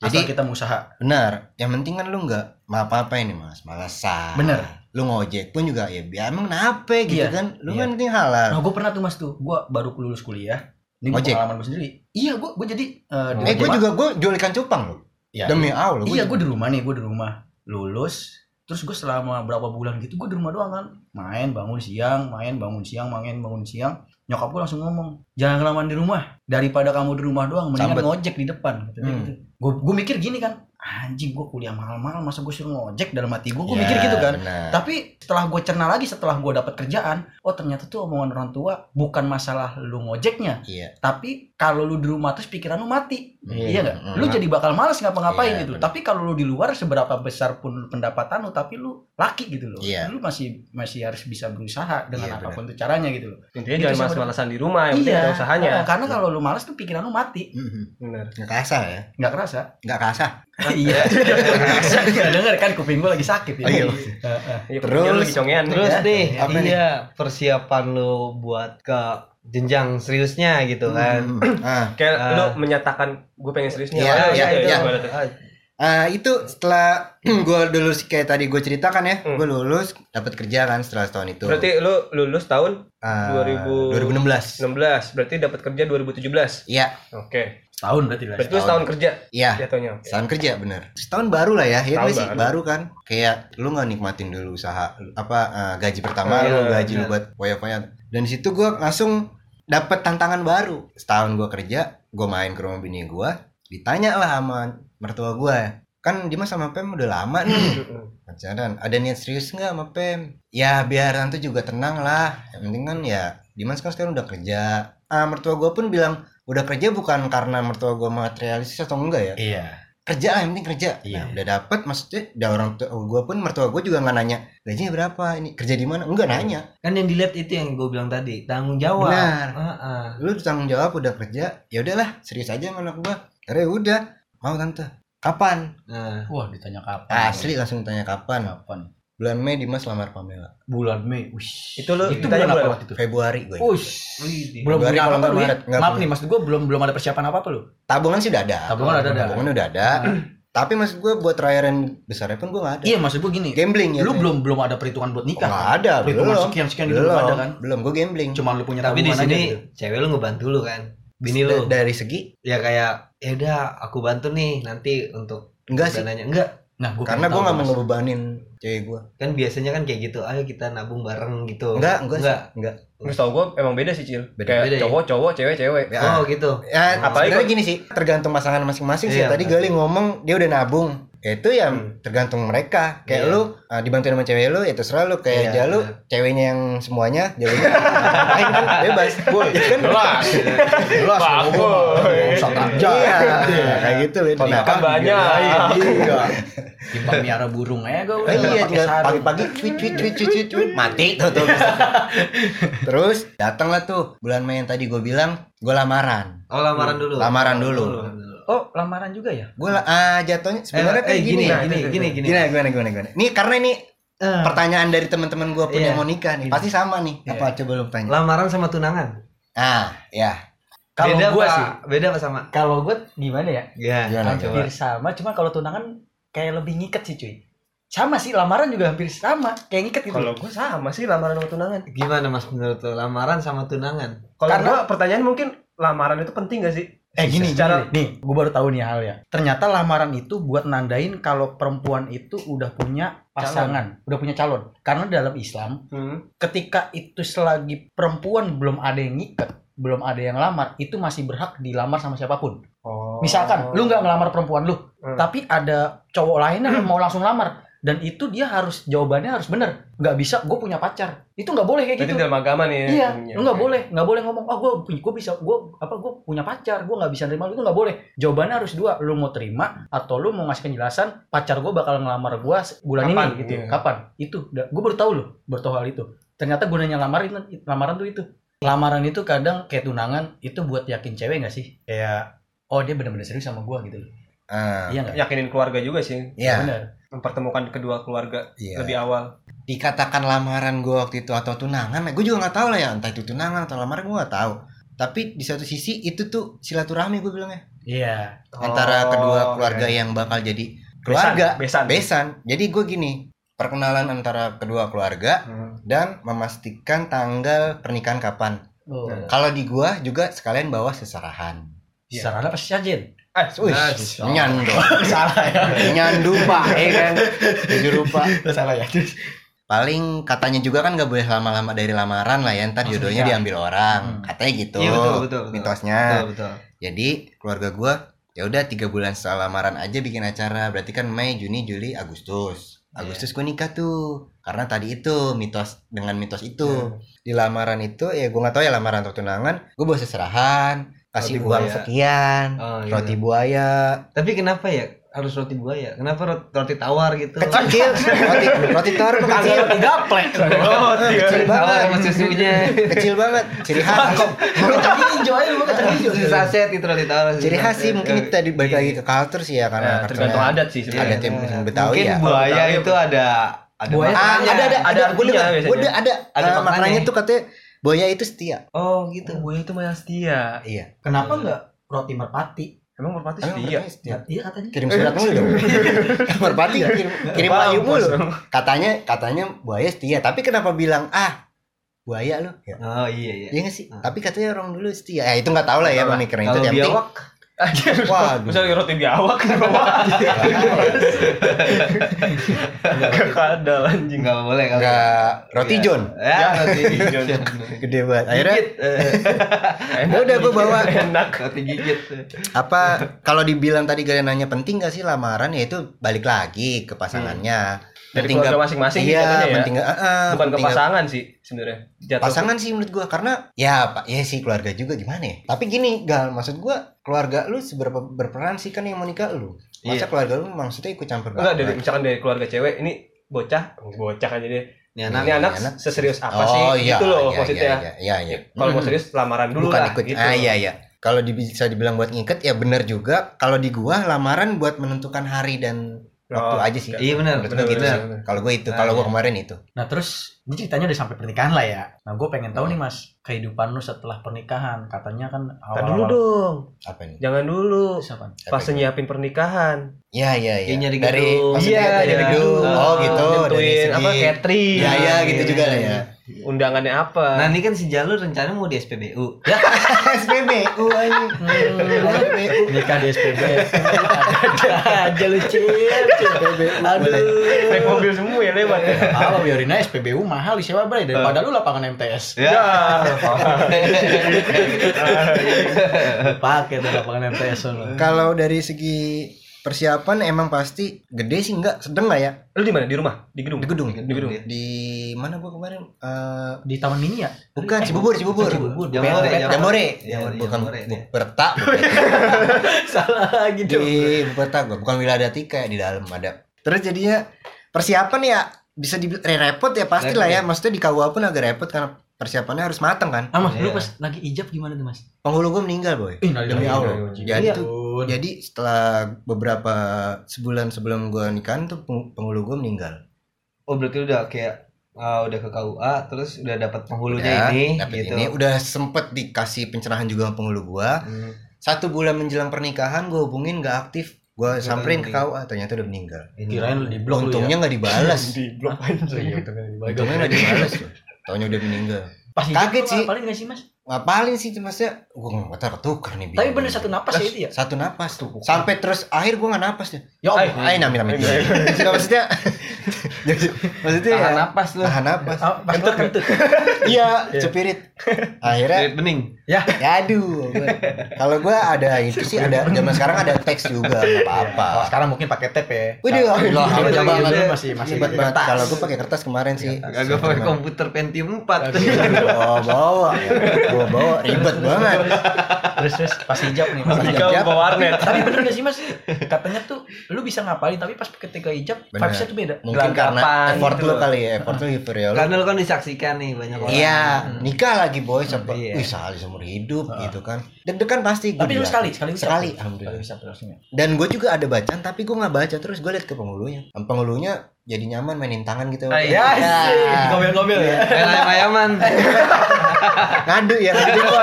S1: Jadi
S4: jadi
S1: kita mau usaha.
S4: benar yang penting kan lu nggak apa apa ini mas malasan
S1: Benar.
S4: lu ngojek pun juga ya biar emang kenapa gitu
S1: Iya,
S4: kan lu
S1: iya.
S4: kan penting halal
S1: Nah, gue pernah tuh Mas tuh. Gua baru lulus kuliah. Ini
S4: Ojek.
S1: pengalaman gue sendiri. Iya, gua gua jadi eh, di
S4: eh gue
S1: rumah-
S4: juga gue jual ikan cupang loh
S1: Iya.
S4: demi allah gua
S1: Iya, gue di rumah nih, gue di rumah lulus. Terus gue selama berapa bulan gitu gue di rumah doang kan, main bangun siang, main bangun siang, main bangun siang. Nyokap gue langsung ngomong, jangan kelamaan di rumah. Daripada kamu di rumah doang, mendingan
S4: Sambet.
S1: ngojek di depan. Gitu,
S4: Hmm.
S1: Gue mikir gini kan, anjing gue kuliah mahal-mahal, masa gue suruh ngojek dalam hati gue, gue mikir
S4: Iya,
S1: gitu kan. Tapi setelah gue cerna lagi, setelah gue dapat kerjaan, oh ternyata tuh omongan orang tua bukan masalah lu ngojeknya,
S4: Iya.
S1: tapi kalau lu di rumah terus pikiran lu mati.
S4: Iya.
S1: Iya nggak?
S4: Mm.
S1: Lu jadi bakal males ngapa-ngapain
S4: Iya,
S1: gitu.
S4: bener.
S1: Tapi kalau lu di luar seberapa besar pun pendapatan lu, tapi lu laki gitu loh.
S4: Iya.
S1: Lu masih masih harus bisa berusaha dengan
S4: Iya,
S1: apapun tuh caranya gitu loh.
S2: Intinya
S1: Itu
S2: jangan
S1: sih
S2: malas-malasan di rumah, yang penting ada Iya, usahanya.
S1: Nah, karena kalau lu males tuh pikiran lu mati,
S4: Mhm.
S2: Bener.
S4: nggak kasar ya
S1: nggak kerasa.
S4: nggak kasar
S1: iya. Nggak Dengar kan kuping gua lagi sakit ya.
S4: Oh, iya.
S1: Eh, eh.
S2: Iya,
S4: Terus-
S2: pokoknya lu lagi congean.
S3: terus
S1: Ya.
S3: deh
S4: Apa nih?
S3: iya persiapan lu buat ke jenjang seriusnya gitu kan
S4: Hmm. ah
S2: Kayak
S3: Ah.
S2: lu menyatakan gue pengen serius nih.
S4: Iya,
S2: Ah,
S4: iya,
S2: gitu,
S4: iya.
S2: gimana tuh?
S3: Ah,
S4: Ah, itu setelah gue lulus kayak tadi gue ceritakan ya
S2: Hmm.
S4: gue lulus dapat kerja kan setelah setahun itu
S2: Berarti lu lulus tahun
S4: Ah,
S2: 2000
S4: 2016
S2: 16, berarti dapat kerja 2017.
S4: Iya.
S2: Oke.
S1: Setahun berarti lah.
S2: Berarti lu setahun kerja
S1: Ah.
S4: iya
S2: jatuhnya. Oke.
S4: setahun kerja bener setahun baru lah ya ya
S2: Setahun
S4: gua sih
S2: baru.
S4: baru kan kayak lu nggak nikmatin dulu usaha apa eh, gaji pertama
S2: Iya,
S4: lu gaji lu
S3: bener.
S4: buat poya-poya dan di situ gua langsung dapet tantangan baru setahun gua kerja gua main ke rumah bini gua ditanya lah sama mertua gua kan Dimas sama Pem udah lama nih pacaran ada niat serius nggak sama Pem ya biar nanti juga tenang lah yang penting kan ya Dimas kan sekarang udah kerja ah mertua gua pun bilang udah kerja bukan karena mertua gua materialis atau enggak ya
S1: Iya.
S4: kerja lah yang penting kerja
S1: Iya.
S4: nah, udah dapet maksudnya udah orang tua gue pun mertua gue juga nggak nanya gajinya berapa ini kerja di mana enggak nanya
S3: kan yang dilihat itu yang gue bilang tadi tanggung jawab
S4: benar
S3: Ah, ah.
S4: lu tanggung jawab udah kerja ya udahlah serius aja sama anak gue karena udah mau tante kapan
S3: Nah,
S1: Wah, ditanya kapan.
S4: asli langsung tanya kapan
S1: Kapan?
S4: bulan Mei Dimas lamar Pamela
S1: Bulan Mei. Ush.
S2: Itu lu
S1: itu bulan
S2: ditanya
S1: apa
S2: bulan
S1: waktu itu?
S4: Februari gue
S1: Ush.
S3: Widih.
S1: Belum
S4: Februari
S1: punya
S4: kalau
S1: apa-apa
S4: nggak
S1: lu ya?
S4: Maret, nggak
S1: Maaf
S4: punya.
S1: nih, maksud gua belum belum ada persiapan apa-apa lu.
S4: tabungan sih udah ada
S1: Tabungan ada ada.
S4: tabungan udah ada tapi maksud gue buat rairan besarnya pun gue nggak ada
S1: Iya, maksud gua gini.
S4: gambling ya
S1: lu belum belum ada perhitungan buat nikah.
S4: nggak
S1: kan?
S4: ada
S1: Perhitungan
S4: belum
S1: sekian sekian itu
S4: belum
S1: belum ada kan?
S4: belum gue gambling
S1: Cuma lu punya
S3: tapi di
S1: tabungan aja
S3: sini
S1: gitu.
S3: cewek lu ngebantu lu kan bini
S4: Da-
S3: lu
S4: dari segi
S3: ya kayak ya udah aku bantu nih nanti untuk
S4: enggak sih
S3: dananya enggak
S1: Nah, gua
S4: karena gue
S1: pengen
S4: nggak mau
S1: tahu, Mas.
S4: ngebebanin cewek gue
S3: kan biasanya kan kayak gitu ayo kita nabung bareng gitu
S4: Enggak, enggak sih.
S3: enggak
S2: Terus tau gue emang beda sih, Cil.
S4: Beda-
S2: Kayak
S3: beda
S1: iya.
S3: ya?
S2: cowok, cowok, cewek, cewek.
S4: ya,
S3: oh gitu
S4: ya
S2: Apalagi
S4: sebenarnya gini sih tergantung pasangan masing-masing sih
S3: Iya,
S4: tadi
S3: benar.
S4: Gali ngomong dia udah nabung Ya itu ya
S2: Hmm.
S4: tergantung mereka
S3: Iya.
S4: kayak lu uh, dibantuin sama cewek lu ya terserah lu
S3: Iya,
S4: kayak aja lu
S3: bener.
S4: ceweknya yang semuanya jalunya lain kan bebas boy kan
S2: Jelas.
S4: jelas
S2: Pak
S4: lu ngomong.
S2: Boy.
S4: Rusak kerja. Iya, kayak gitu beda
S2: Kontrakan banyak.
S4: iya
S1: Timbang miara burung aja gue.
S4: Eh, iya
S1: pakai
S4: tinggal
S1: sarung.
S4: pagi-pagi cuit cuit cuit cuit cuit, cuit mati tuh tuh terus datanglah tuh bulan Mei yang tadi gue bilang gue lamaran
S3: Oh lamaran dulu.
S4: Lamaran dulu.
S1: Oh, lamaran juga ya?
S4: gue la- ah jatuhnya
S3: eh,
S4: sebenarnya
S3: eh,
S4: kayak gini
S3: gini, gini,
S2: gini,
S3: gini,
S4: gini
S3: gini.
S4: gimana gimana gimana ini karena ini
S3: Eh,
S4: pertanyaan dari teman-teman gue pun
S3: Iya.
S4: yang mau nikah
S3: Iya.
S4: nih pasti sama nih
S3: Iya.
S4: apa coba lu tanya
S3: lamaran sama tunangan.
S4: ah ya
S1: Kalau
S3: Beda
S1: gua
S3: apa-
S1: sih.
S3: beda apa sama?
S1: Kalau gue gimana ya?
S3: Ya,
S4: Gimana,
S3: coba.
S1: Hampir sama, cuma kalau tunangan kayak lebih ngikat sih cuy. Sama sih, lamaran juga hampir sama, kayak ngikat gitu.
S2: Kalau gue sama sih lamaran sama tunangan.
S3: Gimana Mas menurut lo lamaran sama tunangan?
S2: Kalau
S1: Karena-
S2: gue pertanyaan mungkin lamaran itu penting gak sih?
S1: eh gini,
S2: secara-
S1: gini. nih, gue baru tahu nih hal ya. Ternyata lamaran itu buat nandain kalau perempuan itu udah punya pasangan, udah punya calon. Karena dalam Islam ketika itu selagi perempuan belum ada yang ngikat belum ada yang lamar itu masih berhak dilamar sama siapapun
S2: Oh.
S1: misalkan lu nggak ngelamar perempuan lu
S2: Hmm.
S1: tapi ada cowok lain yang mau langsung lamar dan itu dia harus jawabannya harus bener nggak bisa gue punya pacar itu nggak boleh kayak
S2: Berarti
S1: gitu
S2: dalam agama nih. ya,
S1: iya
S2: ininya.
S1: lu nggak boleh nggak boleh ngomong oh gue gue bisa gue apa gue punya pacar gue nggak bisa nerima lu itu nggak boleh jawabannya harus dua lu mau terima atau lu mau ngasih penjelasan pacar gue bakal ngelamar gue bulan
S2: Kapan?
S1: ini gitu
S2: Iya.
S1: kapan itu gue baru tahu loh baru tahu hal itu ternyata gunanya lamaran lamaran tuh itu lamaran itu kadang kayak tunangan itu buat yakin cewek nggak sih kayak oh dia benar-benar serius sama gue gitu loh
S4: ah
S1: iya nggak
S2: Yakinin keluarga juga sih.
S4: ya
S1: benar
S2: Mempertemukan kedua keluarga
S4: iya
S2: lebih awal.
S4: dikatakan lamaran gue waktu itu atau tunangan gue juga nggak tahu lah ya entah itu tunangan atau lamaran gue nggak tahu tapi di satu sisi itu tuh silaturahmi gue bilangnya
S1: iya
S2: Oh,
S4: antara kedua
S2: oke.
S4: keluarga yang bakal jadi
S2: Besan,
S4: keluarga
S2: Besan.
S4: besan jadi gue gini perkenalan antara kedua keluarga
S2: Hmm.
S4: dan memastikan tanggal pernikahan kapan
S1: oh.
S2: Nah.
S4: kalau di gua juga sekalian bawa seserahan
S2: Iya.
S1: sarana pasti sajen
S2: Eh,
S4: Wih,
S3: Nah,
S4: nyandu
S1: salah ya
S4: nyandu pak
S1: Iya
S4: eh kan tujuh rupa
S1: salah ya
S4: paling katanya juga kan gak boleh lama-lama dari lamaran lah ya ntar
S1: Langsung
S4: jodohnya
S1: nikah.
S4: diambil orang
S1: Hmm.
S4: katanya gitu
S3: Iya betul betul betul.
S4: mitosnya
S3: Betul betul.
S4: jadi keluarga gua ya udah tiga bulan setelah lamaran aja bikin acara berarti kan Mei Juni Juli Agustus
S3: Iya.
S4: Agustus gua nikah tuh karena tadi itu mitos dengan mitos itu
S3: Iya.
S4: di lamaran itu ya gua nggak tahu ya lamaran atau tunangan gua bawa seserahan kasih
S3: Roti
S4: uang
S3: buaya.
S4: sekian
S3: Oh, iya.
S4: roti buaya
S3: Tapi kenapa ya harus roti buaya? Kenapa roti, roti tawar gitu?
S4: kecil roti roti telur tuh
S1: kagak
S4: kecil
S1: roti gaplek
S2: Oh, iya.
S4: kecil
S3: tawar
S4: banget
S3: sama susunya.
S4: kecil banget ciri khas
S1: kacang hijau aja lu kacang hijau
S3: Susu saset itu roti tawar. susu
S4: ciri khas sih
S3: saset.
S4: mungkin itu tadi balik lagi ke culture sih ya
S2: Nah,
S4: karena
S2: tergantung
S4: culture-nya
S2: adat sih
S4: ada
S2: sebenarnya.
S4: tim
S3: Iya.
S4: Betawi
S3: Mungkin
S4: ya
S3: buaya
S2: Betawi.
S3: itu ada ada
S1: Buaya
S4: ah
S3: makanannya.
S4: ada ada ada
S2: Ada
S4: gue dengar
S2: artinya
S4: gue ada ada
S3: Ada
S4: ada
S3: maknanya.
S4: maknanya tuh katanya buaya itu setia
S3: Oh gitu.
S2: Gue itu mah yang setia.
S4: iya
S1: Kenapa enggak roti merpati?
S2: Emang merpati
S4: Emang
S2: setia.
S4: merpati setia
S1: Iya katanya.
S4: kirim surat mulu dong merpati kirim kirim
S2: Mampus.
S4: layu mulu katanya katanya buaya setia tapi kenapa bilang ah buaya lu ya
S3: Oh iya iya.
S4: Iya nggak sih?
S3: Ah.
S4: Tapi katanya orang dulu setia. Ya itu nggak tahu lah ya
S2: Nggak
S4: pemikiran itu.
S3: Kalau
S4: Yang penting-
S3: biawak
S2: Anjir.
S4: Waduh.
S2: Misalnya roti biawak kadal anjing.
S3: nggak boleh kalau
S4: nggak roti
S3: Iya.
S4: John.
S3: Ya, roti
S2: John.
S3: gigit.
S4: Gede banget. Akhirnya
S3: Gigit, eh,
S2: Enak
S4: Ya Udah, gua bawa.
S2: Enak.
S3: Roti gigit. Iya.
S4: apa kalau dibilang tadi kalian nanya penting gak sih lamaran ya itu balik lagi ke pasangannya.
S2: Hmm. Dari
S4: Penting
S2: keluarga
S4: nggak-
S2: masing-masing sih
S4: Iya,
S2: katanya ya.
S4: penting nggak- eh, eh,
S2: Bukan ke
S4: penting nggak-
S2: pasangan sih sebenarnya. Jatuh.
S4: pasangan sih menurut gua karena ya pak ya sih keluarga juga gimana ya tapi gini gal maksud gua keluarga lu seberapa berperan sih kan yang mau nikah lu
S3: Iya.
S4: masa keluarga lu maksudnya ikut campur
S2: Enggak dari
S4: banget?
S2: misalkan dari keluarga cewek ini bocah, bocah aja deh.
S3: Ini
S4: Iya,
S3: anak
S2: Ini anak
S4: anak.
S2: seserius apa sih?
S4: oh iya
S2: Gitu loh
S4: iya,
S2: maksudnya.
S4: iya iya iya, iya.
S2: Kalau mau
S4: Hmm.
S2: serius lamaran dulu
S4: bukan
S2: lah
S4: ikut
S2: gitu.
S4: ah iya iya kalau di- bisa dibilang buat ngiket ya benar juga kalau di gua lamaran buat menentukan hari dan waktu
S2: Oh,
S4: aja sih
S2: oke.
S3: Iya benar.
S4: Menurut
S2: benar,
S4: gua gitu
S2: benar,
S4: sih.
S2: benar.
S4: kalau gua itu
S3: Ah,
S4: kalau gua
S3: iya.
S4: kemarin itu
S1: Nah terus ini ceritanya udah sampai pernikahan lah ya. Nah gue pengen tahu nih mas kehidupan lu setelah pernikahan. Katanya kan
S2: Ntar
S1: awal
S2: dulu dong.
S4: apa nih
S2: Jangan dulu.
S1: Siapa?
S4: Apa
S2: Pas
S4: nih?
S2: nyiapin pernikahan.
S4: ya ya ya
S3: Iya, nyari
S4: dari
S3: gedung.
S4: maksudnya
S2: Iya,
S4: dari
S2: nyari
S4: gedung
S2: gedung.
S4: oh gitu dari
S2: Nentuin Iya,
S4: segi
S2: apa catering.
S4: ya ya gitu juga lah ya
S2: Undangannya apa?
S3: Nah ini kan si Jalur rencana mau di SPBU. Ya,
S4: SPBU ini
S1: Hmm.
S4: SPBU
S1: Nikah di SPB. Ada aja lu cil.
S2: naik
S1: Aduh.
S2: mobil semua ya lewat. ya.
S1: Apa biarin aja SPBU mahal di sewa bray daripada lu lapangan MTS.
S2: Ya.
S1: Iya, Pakai tuh lapangan MTS lu.
S4: kalau dari segi persiapan emang pasti gede sih enggak sedang lah ya
S2: Lu di mana? Di rumah? Di gedung?
S4: di gedung
S2: Di gedung.
S3: ya.
S4: di mana gua kemarin Eh,
S1: di Taman Mini ya?
S4: bukan Cibubur Cibubur
S1: Cibubur.
S3: Jamboree,
S4: Peta-
S3: Jamboree.
S4: Jamboree
S3: Jamboree,
S4: bukan
S3: Jamboree,
S4: bu-
S3: ya.
S4: Berta
S1: Salah lagi
S4: di
S1: dong.
S4: Berta Iya, gua bukan Wiladatika ya di dalam ada terus jadinya persiapan ya bisa di repot ya pasti lah ya maksudnya di KUA pun agak repot karena persiapannya harus mateng kan
S1: Ah, Mas, lu
S3: Iya.
S1: pas lagi ijab gimana tuh, Mas?
S4: penghulu gua meninggal boy demi
S2: iya,
S4: Allah
S2: iya.
S4: jadi tuh jadi setelah beberapa sebulan sebelum gua nikahan tuh peng- penghulu gua meninggal
S3: Oh berarti udah kayak ah, udah ke KUA terus udah dapat penghulunya
S4: Udah,
S3: ini
S4: Ya, dapet
S3: gitu.
S4: ini udah sempet dikasih pencerahan juga sama penghulu gua
S3: Hmm.
S4: satu bulan menjelang pernikahan gua hubungin nggak aktif gua
S3: Ternyata
S4: samperin ke
S3: udah
S4: KUA ternyata udah meninggal
S3: Ini.
S1: Kirain lu di blok lu ya.
S4: untungnya nggak dibalas
S2: Di blok aja.
S4: Iya, untungnya nggak dibalas tuh. taunya udah meninggal
S1: Pas ijab
S4: Kaget
S1: lu
S4: sih.
S1: ngapalin nggak sih, Mas?
S4: ngapalin sih maksudnya gua nggak tahu ketukar nih
S1: Tapi
S4: bilang.
S1: bener satu napas ya itu ya?
S4: satu napas tuh sampai terus akhir gua nggak napas deh
S1: Ya
S4: ayo
S1: Allah.
S4: ayo nami nami Nggak, maksudnya maksudnya
S3: Tahan
S4: ya,
S3: napas lu.
S4: tahan napas
S1: Ah, Pas kentut, kentut.
S4: iya
S2: Iya.
S4: cepirit akhirnya
S3: Kulit bening.
S4: Ya aduh, gua- kalau gua ada itu sih ada zaman sekarang ada teks juga nggak apa-apa.
S1: Kalau Iya. sekarang mungkin pakai tep ya.
S4: Waduh, alhamdulillah,
S1: Kalau
S4: hebat
S1: zaman
S4: banget.
S1: dulu masih masih
S4: Hebat banget.
S1: kertas.
S4: Kalau gua pakai kertas kemarin sih.
S3: Agak
S4: Iya.
S3: pakai komputer Pentium 4.
S4: Bawa bawa, bawa bawa, ribet banget.
S1: Terus terus pas hijab nih. Pas
S4: Hijab.
S1: hijab.
S2: Jika bawa warnet.
S1: Tapi bener gak sih mas? Katanya tuh lu bisa ngapalin tapi pas ketika hijab
S4: Bener. Iya.
S1: vibesnya tuh beda.
S4: Mungkin karena
S3: Gelagapan
S4: effort
S3: gitu
S4: lu
S3: loh.
S4: kali ya, effort lu gitu ya. lu.
S3: Karena lu kan disaksikan nih banyak orang.
S4: Iya, nikah lagi boy sampai
S3: Iya.
S4: wih sekali seumur hidup
S1: Ah.
S4: gitu kan. Deg-degan pasti gua
S1: Tapi lu
S4: bilang.
S1: sekali sekali bisa.
S4: Sekali,
S1: Sekali
S4: alhamdulillah.
S1: bisa terusnya.
S4: Dan gue juga ada bacaan tapi gue nggak baca terus gue liat ke penghulunya. Penghulunya jadi nyaman mainin tangan gitu.
S3: Ah,
S1: Ya
S3: iya.
S1: sih. Ngomel-ngomel
S4: Iya.
S1: ya.
S3: Main ayam-ayaman.
S4: Ngadu ya, ngadu jempol.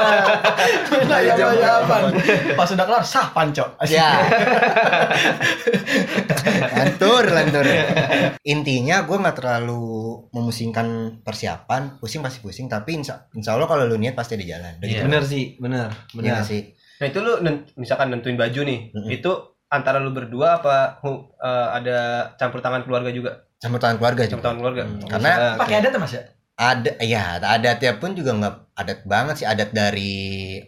S3: Nah, iya,
S1: Ayo jawaban. iya, Pas udah kelar sah panco.
S4: Ya. lantur, lantur. Intinya gue nggak terlalu memusingkan persiapan, pusing pasti pusing, tapi insya, insya Allah kalau lu niat pasti ada jalan. Udah gitu.
S3: Bener sih, bener.
S4: Iya
S3: Bener.
S4: nggak sih.
S2: Nah itu lu nen- misalkan nentuin baju nih,
S4: Mm-mm.
S2: itu antara lu berdua apa hu- eh, ada campur tangan keluarga juga?
S4: Campur tangan keluarga
S2: Campur
S4: juga.
S2: tangan keluarga. Mm.
S4: Hmm, karena-
S3: Nah,
S2: Misalnya,
S1: Pakai adat ya, mas ya?
S4: Ada, ya adatnya pun juga nggak adat banget sih, adat dari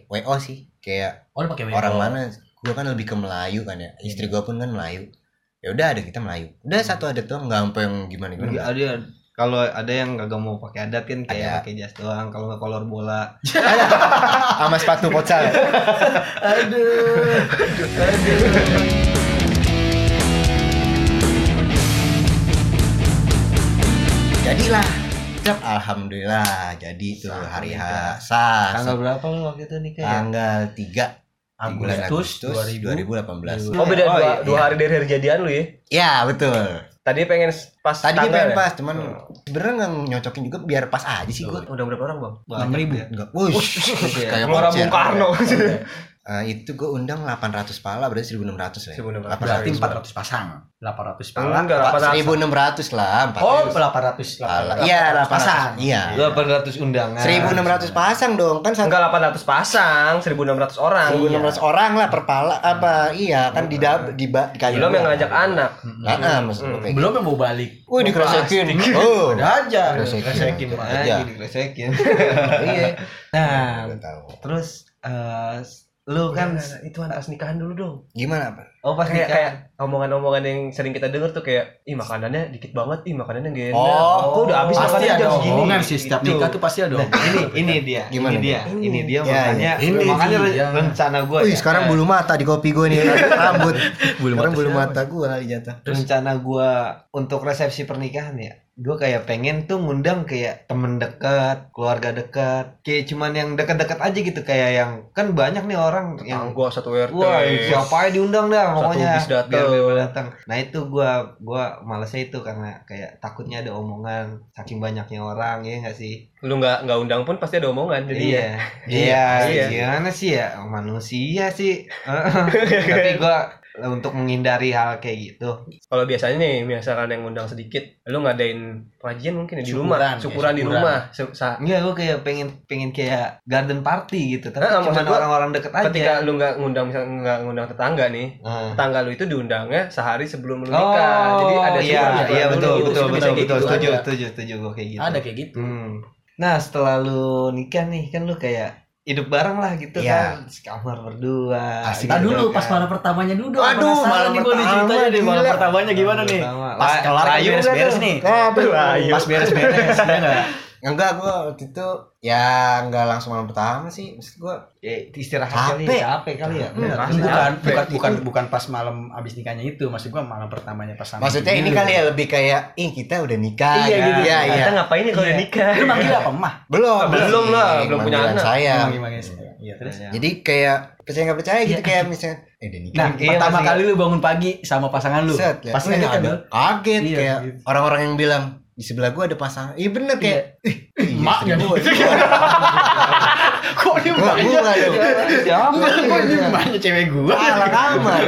S4: WO sih. Kayak
S1: Oh lu pakai WO.
S4: orang mana? Gue kan lebih ke Melayu kan ya. Istri
S3: Hmm.
S4: gue pun kan Melayu. Ya udah ada kita Melayu. Udah satu adat tuh nggak sampai yang
S3: Ada
S4: gimana gimana.
S3: ada kalau ada yang kagak mau pakai adat kan
S4: Ada.
S3: kayak pakai jas doang, kalau nggak kolor bola.
S4: Sama sepatu futsal. ya.
S1: Aduh.
S4: jadilah Cep, alhamdulillah jadi tuh
S3: Sah,
S4: hari
S3: nikah.
S4: H sah
S3: Tanggal berapa lu waktu itu nikah? ya?
S4: tanggal 3 bulan
S1: Agustus
S4: Agustus
S1: 2000.
S4: 2018
S2: Oh beda
S3: Oh,
S2: dua,
S3: iya.
S2: dua hari dari hari jadian lu ya?
S4: ya betul
S2: Tadi pengen s- pas
S4: tadi
S2: tanggal
S4: pengen
S2: ya?
S4: pas cuman sebenernya nggak nyocokin juga biar pas aja sih gue
S2: Udah berapa orang bang?
S1: Enam ribu.
S4: Enggak, wush,
S3: Iya.
S4: kayak
S2: Orang
S4: konser.
S2: Bung Karno.
S4: Eh, itu gue undang 800 pala berarti 1600 lah.
S2: 1600.
S1: Berarti 400
S4: 1600.
S1: pasang. 800
S2: Enggak,
S1: pala.
S2: enggak,
S4: Pak,
S2: rasa-
S4: 1600 lah, 400
S1: Oh, 800
S4: pala. Iya, 800 pasang. Iya.
S3: 800 undangan.
S4: 1600 pasang dong, kan satu
S2: Enggak 800 pasang, 1600 orang.
S4: 1600 orang lah per pala apa iya kan di dab- di ba- dikali
S2: Belum
S4: dua.
S2: yang ngajak anak.
S4: Nah, ah, maksud gue kayak
S1: Hmm. Belum yang mau balik.
S4: Wih dikresekin. Oh,
S1: Udah aja.
S4: Resekin.
S1: Resekin, Mas.
S4: Aja.
S3: Aja dikresekin.
S4: iya.
S3: Nah,
S4: Udah tahu.
S3: terus eh, lu
S2: Kan
S3: kan
S2: itu anak pas nikahan dulu dong.
S4: Gimana, Pak?
S3: oh pas
S2: Kayak
S3: nikah
S2: kayak omongan-omongan yang sering kita dengar tuh kayak ih makanannya dikit banget, ih makanannya gak enak.
S4: Oh,
S2: kok udah habis
S1: Pasti
S2: makanannya
S1: ada
S2: jam segini.
S1: omongan sih setiap
S2: Gitu.
S1: nikah tuh pasti ada
S3: Nah,
S1: omongan.
S3: ini ini dia,
S4: Gimana
S3: ini dia, ini dia
S4: Ya,
S3: makanya
S1: ya. Ini
S3: makanya re-
S1: dia.
S3: rencana gue
S4: Wih,
S3: ya.
S4: sekarang bulu mata di kopi gue nih rambut. bulu sekarang bulu mata gue kali jatuh.
S3: rencana gue untuk resepsi pernikahan ya gue kayak pengen tuh ngundang kayak temen dekat keluarga dekat kayak cuman yang dekat-dekat aja gitu kayak yang kan banyak nih orang yang
S2: gua satu RT.
S3: Wah, iya. siapa aja diundang dah
S2: Satu
S3: pokoknya
S2: bis dateng.
S3: biar bebas datang. Nah itu gua gua malesnya itu karena kayak takutnya ada omongan saking banyaknya orang ya nggak sih?
S2: Lu nggak nggak undang pun pasti ada omongan jadi.
S3: iya. Iya,
S2: Iya.
S3: gimana sih ya manusia sih. Tapi gua untuk menghindari hal kayak gitu.
S2: Kalau biasanya nih, misalkan yang ngundang sedikit, lu ngadain pengajian mungkin ya di
S1: Syukuran,
S2: rumah,
S1: ya,
S2: syukuran di
S1: syukuran.
S2: rumah. Su- sa-
S3: Enggak, gua kayak pengen pengen kayak garden party gitu. Tapi
S2: Nah, maksud
S3: cuma
S2: gua,
S3: orang-orang deket aja.
S2: Ketika lu nggak ngundang misalkan nggak ngundang tetangga nih,
S3: Nah.
S2: tetangga lu itu diundangnya sehari sebelum lu
S3: Oh,
S2: nikah. Jadi ada
S3: iya,
S2: syukuran
S3: iya
S2: dulu,
S3: betul,
S2: gitu.
S3: betul,
S2: Bisa
S3: betul,
S2: kayak
S3: betul,
S2: gitu
S3: setuju, gitu.
S2: aja.
S1: Hmm.
S3: setuju, setuju, gua kayak gitu.
S1: Ada kayak gitu.
S3: Hmm. Nah setelah lu nikah nih kan lu kayak hidup bareng lah gitu
S4: Iya.
S3: kan sekamar berdua
S4: Asik
S3: gitu
S1: Nah dulu
S3: kan.
S1: pas malam pertamanya dulu dong.
S4: Aduh, malam pertama
S1: deh malam
S4: gila.
S1: pertamanya gimana nih?
S3: Pertama.
S1: Pas
S3: La-
S1: kelar kan
S3: layu nggak
S1: beres-beres
S3: tuh?
S1: nih.
S4: Ah,
S2: Aduh, ayo.
S1: Pas beres-beres ya enggak?
S4: Enggak, gue waktu itu ya nggak langsung malam pertama sih. Maksud gue
S3: ya, istirahat kali
S4: Capek.
S3: capek kali ya
S4: Hmm,
S3: Bener.
S4: pasti.
S1: bukan,
S4: capek.
S1: bukan bukan bukan pas malam abis nikahnya itu maksud gua malam pertamanya pas sama
S4: maksudnya ini kali ya lebih kayak ih kita udah nikah.
S3: Iya,
S4: ya.
S3: gitu.
S4: Iya, iya.
S2: Kita ngapain nih kalau udah nikah?
S1: lu manggil apa mah
S4: Belum,
S2: Ah, belum lah, belum punya
S4: Panggilan
S2: anak.
S4: Saya.
S1: gimana sih iya terus
S3: ya.
S4: Jadi kayak percaya nggak percaya gitu kayak misalnya eh udah nikah.
S1: nah
S3: Iya,
S1: pertama
S3: masih-
S1: kali lu bangun pagi sama pasangan lu
S4: Set, liat.
S1: pasti
S4: Wah,
S1: kaget kan
S4: ada
S1: lu
S4: kaget
S1: Iya,
S4: kayak
S1: gitu.
S4: orang-orang yang bilang di sebelah gua ada pasangan. Iya bener kayak ih, iya,
S1: Maknya
S4: gua.
S1: kok dia
S4: Gua gua dong.
S3: Siapa?
S1: kok dia emaknya cewek gua
S4: Salah kamar.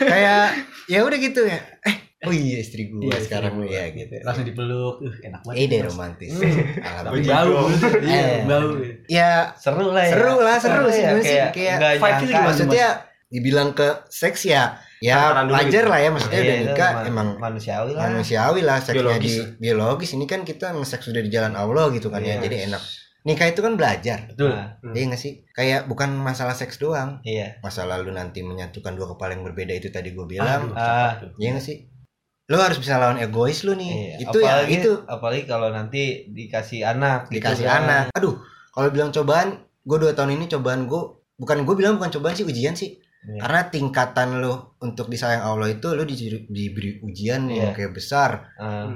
S4: Kayak ya udah gitu ya. Eh, oh iya istri gua
S1: Iya,
S4: sekarang
S1: istri gua.
S4: ya gitu. Eh,
S1: langsung dipeluk uh, enak banget
S4: Ide romantis.
S1: Bau,
S4: Alhamdulillah.
S1: bau
S4: Iya.
S1: bau
S4: Ya
S3: seru lah ya
S4: seru lah seru sih
S3: ya,
S4: sebenarnya sih
S3: kayak
S4: kayak
S3: nggak
S4: vibe itu
S3: nyangka.
S4: maksudnya dibilang ke seks ya ya
S2: Tantangan dulu
S4: wajar
S2: gitu.
S4: lah ya maksudnya
S3: Iya,
S4: udah
S3: itu
S4: nikah
S3: ma-
S4: emang
S3: manusiawi lah
S4: manusiawi lah seksnya
S2: Biologis.
S4: di biologis ini kan kita ngeseks sudah di jalan Allah gitu kan ya
S3: Yes.
S4: jadi enak nikah itu kan belajar
S1: betul
S3: Nah,
S4: Iya nggak sih kayak bukan masalah seks doang
S3: iya
S4: masalah lu nanti menyatukan dua kepala yang berbeda itu tadi gue bilang
S3: Ah,
S4: Iya nggak sih lu harus bisa lawan egois lu
S3: iya.
S4: nih itu ya
S3: apalagi,
S4: itu
S3: apalagi kalau nanti dikasih anak gitu
S4: dikasih
S3: kan.
S4: anak aduh kalau bilang cobaan gue dua tahun ini cobaan gue bukan gue bilang bukan cobaan sih ujian sih
S3: Iya.
S4: karena tingkatan lo untuk disayang Allah itu lo diberi, diberi ujian
S3: Iya.
S4: yang kayak besar
S3: Ah,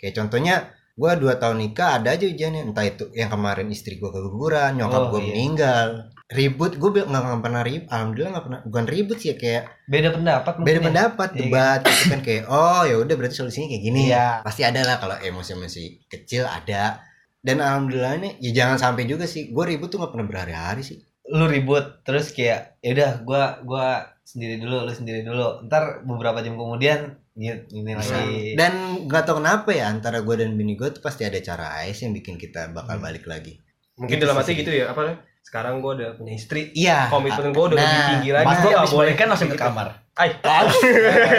S4: kayak contohnya gue dua tahun nikah ada aja ujiannya entah itu yang kemarin istri gue keguguran nyokap
S3: Oh,
S4: gue
S3: iya.
S4: meninggal ribut gue nggak nggak pernah ribut alhamdulillah nggak pernah bukan ribut sih ya, kayak
S3: beda pendapat mungkin
S4: beda
S3: ya.
S4: pendapat
S3: Iya.
S4: debat gitu kan kayak oh ya udah berarti solusinya kayak gini
S3: Iya.
S4: pasti ada lah kalau emosi-emosi kecil ada dan alhamdulillah nih ya jangan sampai juga sih gue ribut tuh nggak pernah berhari-hari sih
S3: lu ribut terus kayak yaudah gua gua sendiri dulu lu sendiri dulu ntar beberapa jam kemudian gitu ini lagi
S4: dan nggak tau kenapa ya antara gue dan bini gue tuh pasti ada cara ais yang bikin kita bakal balik lagi
S2: Mungkin dalam hati gitu ya, apa lah? Sekarang gua udah punya istri.
S4: iya
S2: Komitmen gua udah
S4: Nah,
S2: lebih tinggi lagi.
S1: pas
S2: Gua
S1: gua
S2: nggak
S1: abis
S2: boleh
S1: boleh kan langsung ke kamar
S2: Ay,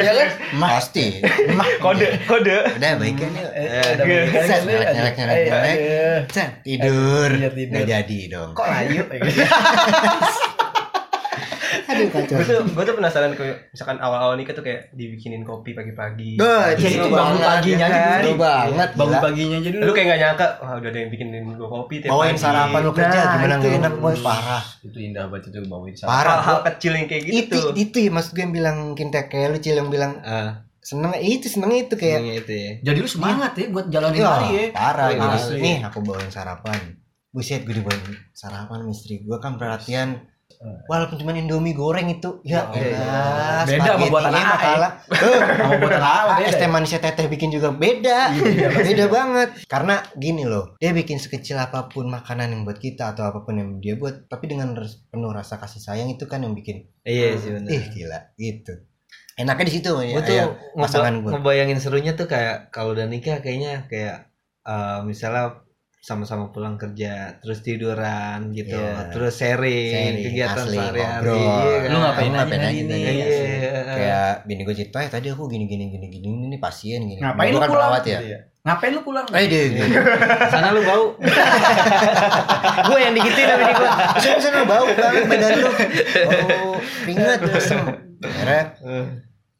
S4: iya kan pasti Mah.
S2: kode, kode.
S4: udah baikan yuk
S1: Eh, udah
S3: gitu.
S2: Iya.
S1: balikan
S4: Set,
S1: kan,
S4: nyelek,
S1: aduh.
S4: nyelek, nyelek,
S1: Eh,
S4: nyelek.
S1: aduh.
S4: Cet, tidur
S1: Iya, tidur.
S4: nggak jadi dong
S1: kok layu
S4: aduh kacau
S2: Gue tuh, gua tuh penasaran kayak misalkan awal-awal nikah tuh kayak dibikinin kopi pagi-pagi. Nah, gitu.
S4: Bah,
S1: Ya, itu
S4: seru
S1: bangun
S4: banget,
S1: paginya
S4: ya
S1: aja
S4: kan?
S1: dulu.
S4: Seru banget
S1: bangun
S4: gila.
S1: paginya aja dulu
S2: Lu kayak gak nyangka, wah udah ada yang bikinin gua kopi tiap
S4: bawain
S2: pagi.
S4: sarapan lu kerja
S1: Nah,
S4: gimana nggak
S1: itu.
S4: enak boy parah
S1: itu indah banget itu bawain sarapan
S4: parah
S2: Hal-hal kecil yang kayak gitu.
S4: itu itu ya maksud gue yang bilang mungkin kayak kayak lu Cil, yang bilang
S3: Ah,
S4: seneng eh, itu seneng itu kayak
S3: senangnya itu ya
S1: Jadi lu semangat ya buat jalanin
S4: Wah,
S1: hari ya.
S4: Iya, parah gitu
S1: Asli.
S4: nih aku bawain sarapan buset gue dibawain sarapan sama istri gue kan perhatian walaupun cuma indomie goreng itu ya
S1: Oh, iya.
S4: elah,
S1: Beda sama
S4: spaghetti
S1: buatan AA,
S4: makalah
S1: Sama buatan apa
S4: es teh manisnya teteh bikin juga beda
S1: Iya,
S4: beda banget karena gini loh dia bikin sekecil apapun makanan yang buat kita atau apapun yang dia buat tapi dengan res- penuh rasa kasih sayang itu kan yang bikin
S3: iya sih Iya, benar
S4: ih gila gitu enaknya di situ ya,
S3: gue tuh
S4: ya.
S3: ngeba-
S4: pasangan gua.
S3: ngebayangin serunya tuh kayak kalau udah nikah kayaknya kayak eh, misalnya sama-sama pulang kerja terus tiduran gitu
S4: Iya.
S3: terus sharing,
S4: Sharing,
S3: kegiatan
S4: asli,
S3: sehari-hari kan?
S4: ngobrol.
S1: Lu ngapain
S4: Lu
S1: aja
S4: ngapain
S1: hari
S4: aja
S1: ini?
S4: tadi?
S3: iya
S4: kayak bini gue cerita ya tadi aku gini gini gini gini ini nih pasien gini
S1: Ngapain
S4: Bini
S1: lu
S4: gua kan
S1: pulang?
S4: perawat ya
S1: Gitu Ngapain lu pulang?
S4: eh dia dia.
S3: sana lu bau
S4: gue yang dikitin sama bini gue bisa bisa lu bau banget badan lu bau keringat langsung akhirnya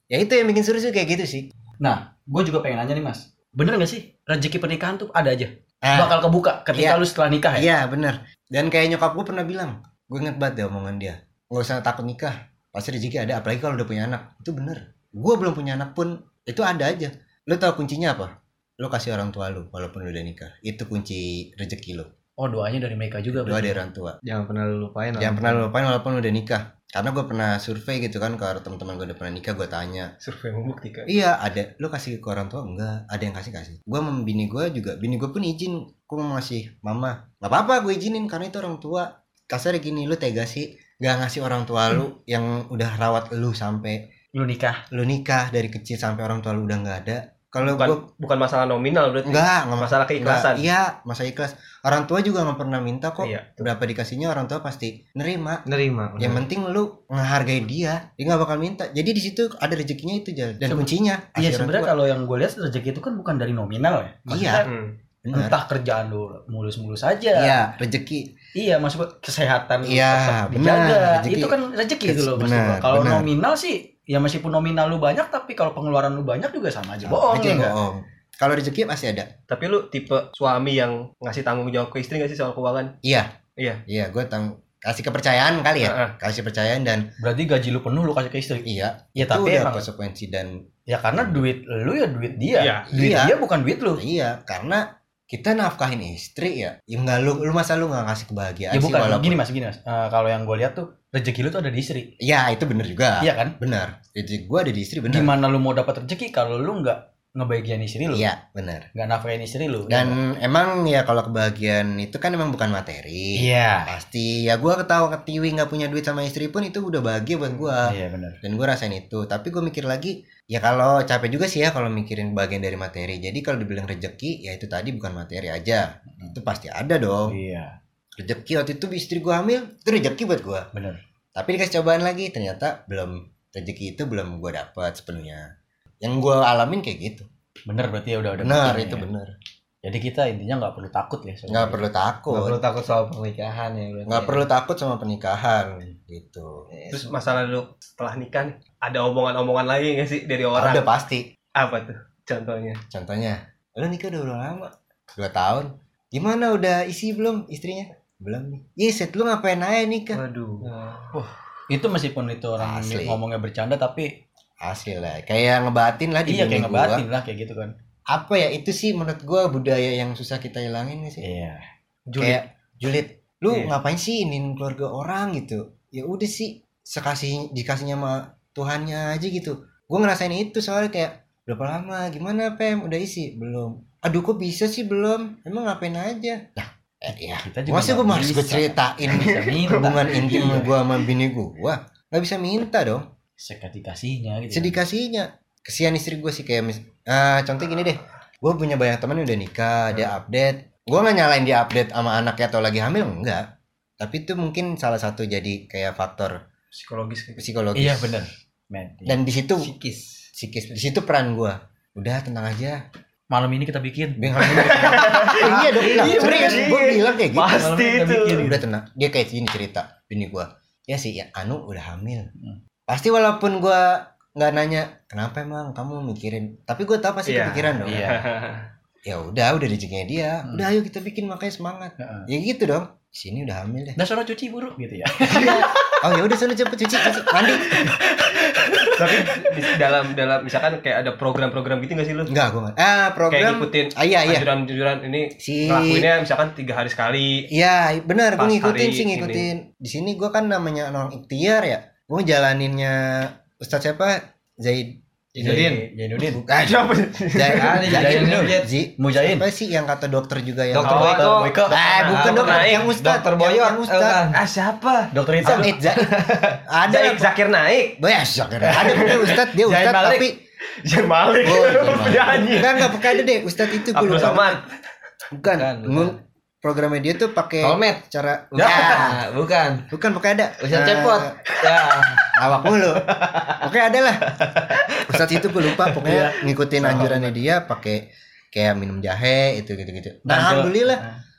S2: Eh,
S4: ya itu yang bikin seru sih kayak gitu sih
S1: Nah, gue juga pengen nanya nih mas. Bener gak sih rezeki pernikahan tuh ada aja?
S4: Ah.
S1: Bakal kebuka ketika
S4: Iya.
S1: lu setelah nikah ya?
S4: iya bener dan kayak nyokap gue pernah bilang gue inget banget deh omongan dia nggak usah takut nikah pasti rezeki ada apalagi kalau udah punya anak itu bener gue belum punya anak pun itu ada aja lu tau kuncinya apa lu kasih orang tua lu walaupun lu udah nikah itu kunci rezeki lu
S1: Oh doanya dari mereka juga.
S4: doa
S1: berarti.
S4: dari orang tua
S3: jangan pernah lu lupain
S2: Nah.
S4: Jangan pernah lu lupain walaupun lu udah nikah. Karena gue pernah survei gitu kan ke teman-teman gue udah pernah nikah gue tanya
S2: Survei membuktikan.
S4: iya ada lu kasih ke orang tua enggak ada yang kasih kasih gue sama bini gue juga bini gue pun izin gue mau ngasih mama nggak apa apa gue izinin karena itu orang tua kasar ya gini lu tega sih gak ngasih orang tua lu yang udah rawat lu sampai
S1: Lu nikah. Iya,
S4: lu nikah dari kecil sampai orang tua lu udah nggak ada kalau
S2: Bukan
S4: gue
S2: bukan masalah nominal berarti.
S4: enggak enggak
S2: Masalah keikhlasan.
S4: Nggak, iya masa ikhlas orang tua juga nggak pernah minta kok
S2: Iya.
S4: berapa dikasihnya orang tua pasti nerima
S3: nerima
S4: yang
S1: Hmm.
S4: penting lu ngehargai dia dia nggak bakal minta jadi di situ ada rezekinya itu Jal. dan
S1: Sebe-
S4: kuncinya
S1: Iya
S4: Kasih orang
S1: sebenarnya
S4: tua.
S1: kalau yang gue lihat rezeki itu kan bukan dari nominal ya.
S4: iya
S2: Hmm.
S4: Benar.
S1: entah kerjaan lu mulus-mulus aja
S4: Iya, rezeki.
S1: iya maksud gua kesehatan lu
S4: Iya,
S1: tetap
S4: benar,
S1: dijaga
S4: rezeki.
S1: itu kan rezeki
S4: Yes,
S1: itu loh maksud
S4: benar,
S1: gua. kalau
S4: benar.
S1: nominal sih ya meskipun nominal lu banyak tapi kalau pengeluaran lu banyak juga sama aja bohong
S4: Aja
S1: ya nggak?
S4: bohong. Kalau rezeki pasti ada.
S2: Tapi lu tipe suami yang ngasih tanggung jawab ke istri gak sih soal keuangan?
S4: Iya, gue tang kasih kepercayaan kali ya.
S2: Heeh.
S4: Kasih kepercayaan dan
S1: kan? berarti gaji lu penuh lu kasih ke istri
S4: iya,
S1: ya
S4: itu
S1: tapi
S4: udah
S1: emang
S4: konsekuensi dan
S1: ya karena duit lu ya duit dia
S2: Iya.
S1: duit
S4: Iya.
S1: dia bukan duit lu
S4: iya, karena kita nafkahin istri ya. Ya enggak lu lu masa lu nggak ngasih kebahagiaan
S1: ya
S4: Iya, sih
S1: bukan
S4: walaupun
S1: gini mas gini mas Eh, kalau yang gue lihat tuh rezeki lu tuh ada di istri
S4: Iya, itu bener juga.
S1: iya kan
S4: Bener. Rezeki gue ada di istri bener.
S1: gimana lu mau dapat rezeki kalau lu nggak ngebagian istri lu
S4: Iya, bener.
S1: nggak nafkahin istri lu
S4: Dan emang ya kalau kebahagiaan itu kan emang bukan materi.
S1: iya
S4: Pasti ya gue ketawa ketiwi nggak punya duit sama istri pun itu udah bahagia buat gue.
S1: iya benar
S4: dan gue rasain itu tapi gue mikir lagi ya kalau capek juga sih ya kalau mikirin bagian dari materi jadi kalau dibilang rezeki ya itu tadi bukan materi aja
S1: Hmm.
S4: itu pasti ada dong
S1: iya
S4: rezeki waktu itu istri gue hamil itu rezeki buat gue
S1: benar
S4: tapi dikasih cobaan lagi ternyata belum rezeki itu belum gue dapat sepenuhnya yang gue alamin kayak gitu
S1: benar berarti ya udah udah
S4: benar
S1: begini
S4: itu
S1: ya.
S4: benar
S1: jadi kita intinya nggak perlu takut ya
S4: nggak
S1: sebenarnya.
S4: perlu
S3: Nggak
S4: takut
S3: perlu takut soal pernikahan ya. berarti
S4: nggak
S3: ya.
S4: perlu takut sama pernikahan gitu
S3: Yes.
S2: Terus masalah lu setelah nikah nih, ada omongan-omongan lagi gak sih dari orang?
S4: udah pasti
S2: Apa tuh contohnya?
S4: Contohnya, lo nikah udah berapa lama? Dua tahun. Gimana udah isi belum istrinya? Belum nih. Iya, set lu ngapain aja nikah?
S2: Waduh.
S1: itu meskipun itu orang
S4: Asli.
S1: ngomongnya bercanda tapi
S4: Asli lah, ya, kayak ngebatin lah di
S1: iya
S4: bumi
S1: kayak
S4: gua.
S1: ngebatin lah kayak gitu kan
S4: Apa ya itu sih menurut gua budaya yang susah kita hilangin sih.
S1: iya
S4: Kayak julid, lu
S2: Iya.
S4: ngapain sih iniin keluarga orang gitu? Ya udah sih, sekasih dikasihnya sama Tuhannya aja gitu. Gua ngerasain itu soalnya kayak berapa lama? Gimana Pem? Udah isi? Belum. Aduh kok bisa sih belum? Emang ngapain aja? Nah, eh, ya
S1: kita juga
S4: Masa
S1: nggak
S4: gue harus gue
S1: bisa.
S4: ceritain
S1: Nggak bisa minta.
S4: hubungan intim
S1: Iya.
S4: gue sama bini gue Gak bisa minta dong
S1: seketikasinya gitu
S4: Sedikasinya Kesian istri gue sih kayak mis- ah, Contoh gini deh Gue punya banyak temen yang udah nikah
S1: Hmm.
S4: Dia update Gue gak nyalain dia update sama anaknya atau lagi hamil Enggak Tapi itu mungkin salah satu jadi kayak faktor
S2: Psikologis kayak gitu.
S4: psikologis
S1: iya benar men
S4: Dan di situ
S3: Psikis.
S4: psikis Di situ peran gue Udah tenang aja
S1: malam ini kita bikin
S4: Beng, hamil. Iya dong bilang
S2: Iya,
S4: Serius
S2: bener.
S4: gue bilang kayak gitu
S1: Malam
S2: Pasti
S1: ini kita
S2: itu.
S1: bikin.
S4: Dia udah tenang dia kayak gini cerita bini gua ya sih ya Anu udah hamil
S1: Hmm.
S4: pasti walaupun gua nggak nanya kenapa emang kamu mikirin tapi gua tahu pasti
S2: Iya,
S4: kepikiran dong
S1: iya
S4: ya udah udah rezekinya dia
S1: Hmm.
S4: udah ayo kita bikin makanya semangat
S1: Heeh.
S4: ya gitu dong Di sini udah hamil deh
S1: dan sono Nah, cuci buruk gitu ya
S4: oh ya udah sana cepet cuci cuci mandi
S2: Tapi di- dalam dalam misalkan kayak ada program-program gitu gak sih lu?
S4: enggak gua nggak ah
S2: Kayak
S4: program
S2: ngikutin
S4: ah iya iya
S2: anjuran-anjuran ini
S4: si
S2: ngelakuinnya misalkan tiga hari sekali
S4: Iya benar gue
S2: Pas
S4: ngikutin
S2: hari
S4: sih ngikutin di sini gua kan namanya orang ikhtiar ya gue jalaninnya Ustadz siapa Zaid
S2: Zainuddin.
S1: Zainuddin
S4: bukan
S2: Siapa sih?
S4: Zaid
S3: Ah, ini jadi
S1: Jadi,
S3: Jet.
S4: Zi-
S1: Mujahin.
S4: Apa sih yang kata dokter juga yang
S3: Dokter
S2: Oh,
S3: Boyko.
S2: itu-
S1: Boyko.
S4: Ah, bukan
S3: Ah,
S4: dokter,
S2: Naik.
S4: yang Ustaz.
S3: Dokter
S4: Yang-
S3: Boyok.
S4: yang Ustaz.
S3: Elkan.
S2: Ah siapa?
S1: dokter Ya. itu
S4: Zaid, Zaid. Ada
S2: Zaid Zakir Naik.
S4: Bayas, ada punya Ustaz, dia
S2: Zaid
S4: Ustaz
S2: Malik.
S4: tapi
S2: Zain Malik.
S4: Oh, Zaid Malik.
S2: Penyanyi.
S4: enggak enggak bukan ada deh Ustaz itu gua
S2: Abdul
S4: lupa.
S2: Somad.
S4: Bukan.
S3: Bukan, bukan.
S4: Mun- Programnya dia tuh pakai
S3: Solmed.
S4: cara
S3: Ya,
S4: ya.
S3: bukan.
S4: Bukan pakai ada.
S3: Ustaz
S4: Nah,
S3: Cepot. Ya.
S4: Awak mulu. Oke, ada lah. Ustaz itu gue lupa
S1: Iya.
S4: pokoknya ngikutin anjurannya dia pakai kayak minum jahe itu gitu-gitu.
S1: Ganjel.
S4: Nah, alhamdulillah.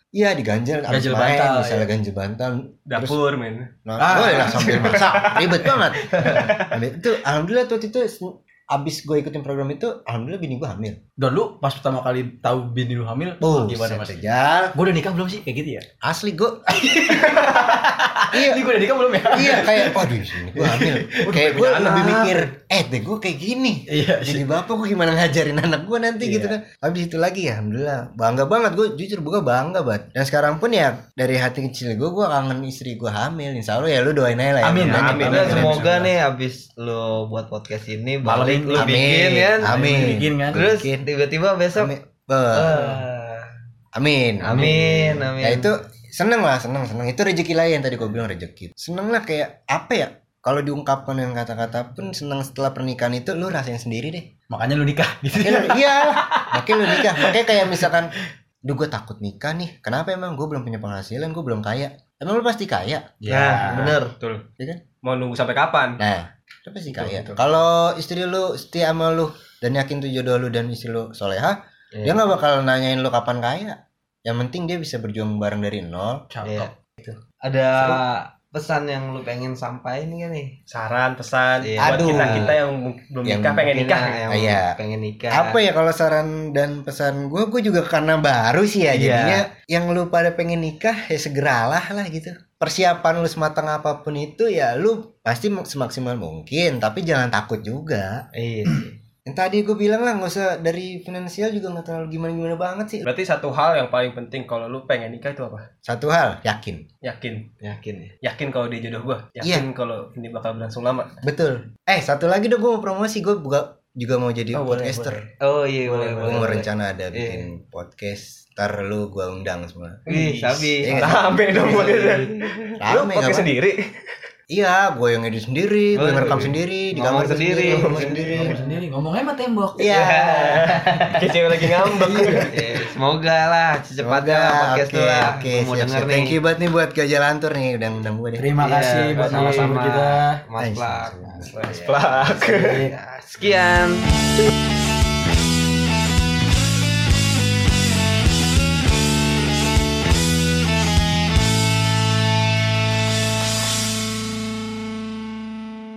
S4: Iya diganjel abis
S1: Ganjel
S4: main,
S1: bantal, ya.
S4: misalnya ganjel bantal terus
S2: Dapur men.
S4: Nah,
S3: Ah.
S4: boleh lah sambil masak. Ribet banget. Ambil- itu alhamdulillah tuh itu se- abis gue ikutin program itu alhamdulillah bini gue hamil.
S1: dan lu pas pertama kali tahu bini lu hamil
S4: Oh,
S1: gimana mas
S4: Sejal.
S1: gue udah nikah belum sih kayak gitu ya
S4: Asli gue. iya.
S1: ini gue udah nikah belum ya
S4: Iya kayak waduh sini gue hamil. kayak gue
S2: punya anak.
S4: lebih mikir eh deh gue kayak gini.
S1: iya
S4: Jadi bapak gue gimana ngajarin anak gue nanti
S1: Iya.
S4: gitu kan. Habis itu lagi ya alhamdulillah bangga banget gue jujur gue bangga banget. Dan sekarang pun ya dari hati kecil gue gue kangen istri gue hamil. Insya Allah ya lu doain aja lah. ya.
S1: Amin,
S4: Doain,
S2: amin.
S4: doain, doain.
S3: Semoga nih abis lo buat podcast ini
S1: Malam
S3: balik
S1: ini.
S3: lo bikin
S4: Amin.
S3: kan.
S4: Amin.
S1: bikin kan
S3: Terus
S4: Bikin.
S3: tiba-tiba besok.
S4: Amin. Be-
S3: Ah.
S4: Amin.
S3: Amin. Amin.
S4: Ya itu seneng lah, seneng seneng. Itu rezeki lah yang tadi gue bilang rezeki. Seneng lah kayak apa ya? Kalau diungkapkan dengan kata-kata pun seneng setelah pernikahan itu lu rasain sendiri deh.
S1: makanya lu nikah gitu
S4: Makanya lu- Iya, makanya lu nikah. Makanya kayak misalkan, duh gue takut nikah nih. Kenapa emang gue belum punya penghasilan, gue belum kaya. Emang lu pasti kaya.
S3: Nah, bener.
S2: Betul.
S4: Iya kan?
S2: Mau nunggu sampai kapan?
S4: Nah, lu pasti
S2: Betul,
S4: kaya.
S2: betul.
S4: Kalau istri lu setia sama lu dan yakin tuh jodoh lu dan istri lu soleha,
S2: Iya.
S4: Dia ya nggak bakal nanyain lu kapan kaya. Yang penting dia bisa berjuang bareng dari nol.
S3: Iya.
S1: Cakep.
S3: Ada pesan yang lu pengen sampaikan gak nih?
S2: saran pesan
S3: Iya.
S2: buat
S4: Aduh.
S2: kita kita yang mung- belum
S4: Yang
S2: nikah pengen
S3: Mungkin
S2: nikah
S3: yang
S4: Iya.
S3: pengen nikah.
S4: Apa ya kalau saran dan pesan gue? Gue juga karena baru sih
S3: Iya.
S4: ya. Jadinya yang lu pada pengen nikah ya segeralah lah gitu. Persiapan lu sematang apapun itu ya lu pasti semaksimal mungkin. Tapi jangan takut juga.
S3: Iya. sih.
S4: Yang tadi gue bilang lah nggak usah dari finansial juga nggak terlalu gimana-gimana banget sih.
S2: berarti satu hal yang paling penting kalau lu pengen nikah itu apa
S4: Satu hal yakin.
S2: yakin
S3: Yakin ya.
S2: yakin kalau dia jodoh gua
S4: Iya.
S2: yakin kalau ini bakal berlangsung lama
S4: Betul. Eh satu lagi dong gue mau promosi gue buka juga mau jadi
S2: Oh, boleh,
S4: podcaster.
S3: Oh iya
S2: Boleh,
S3: boleh
S4: Gue
S3: boleh.
S4: mau
S3: boleh.
S4: rencana ada bikin podcast. Ntar lu gue undang semua.
S3: Ih, sabi.
S4: Iya,
S2: rame dong boleh lu
S4: Rame
S2: pakai
S4: gak apa?
S2: sendiri
S4: Iya, gue yang edit sendiri, gue
S3: Boleh.
S4: yang rekam sendiri, di
S3: Ngomong
S4: kamar gua
S3: sendiri.
S4: ngomong sendiri.
S1: Ngomong sendiri, ngomongnya sama tembok.
S4: Iya.
S2: kayak cewek lagi ngambek
S3: Iya, semoga lah secepatnya
S4: Semoga
S3: podcast
S4: oke
S3: tuh lah.
S4: oke.
S3: Gua mau
S4: siap,
S3: denger
S4: siap.
S3: nih.
S4: Thank you banget nih buat Gajah Lantur nih udah ngundang gue deh.
S1: Terima
S3: Iya,
S1: kasih buat
S3: kasih.
S1: narasumber kita.
S3: Mas
S4: Eh,
S3: Plak.
S4: sama-sama.
S2: Plak.
S3: Sekian.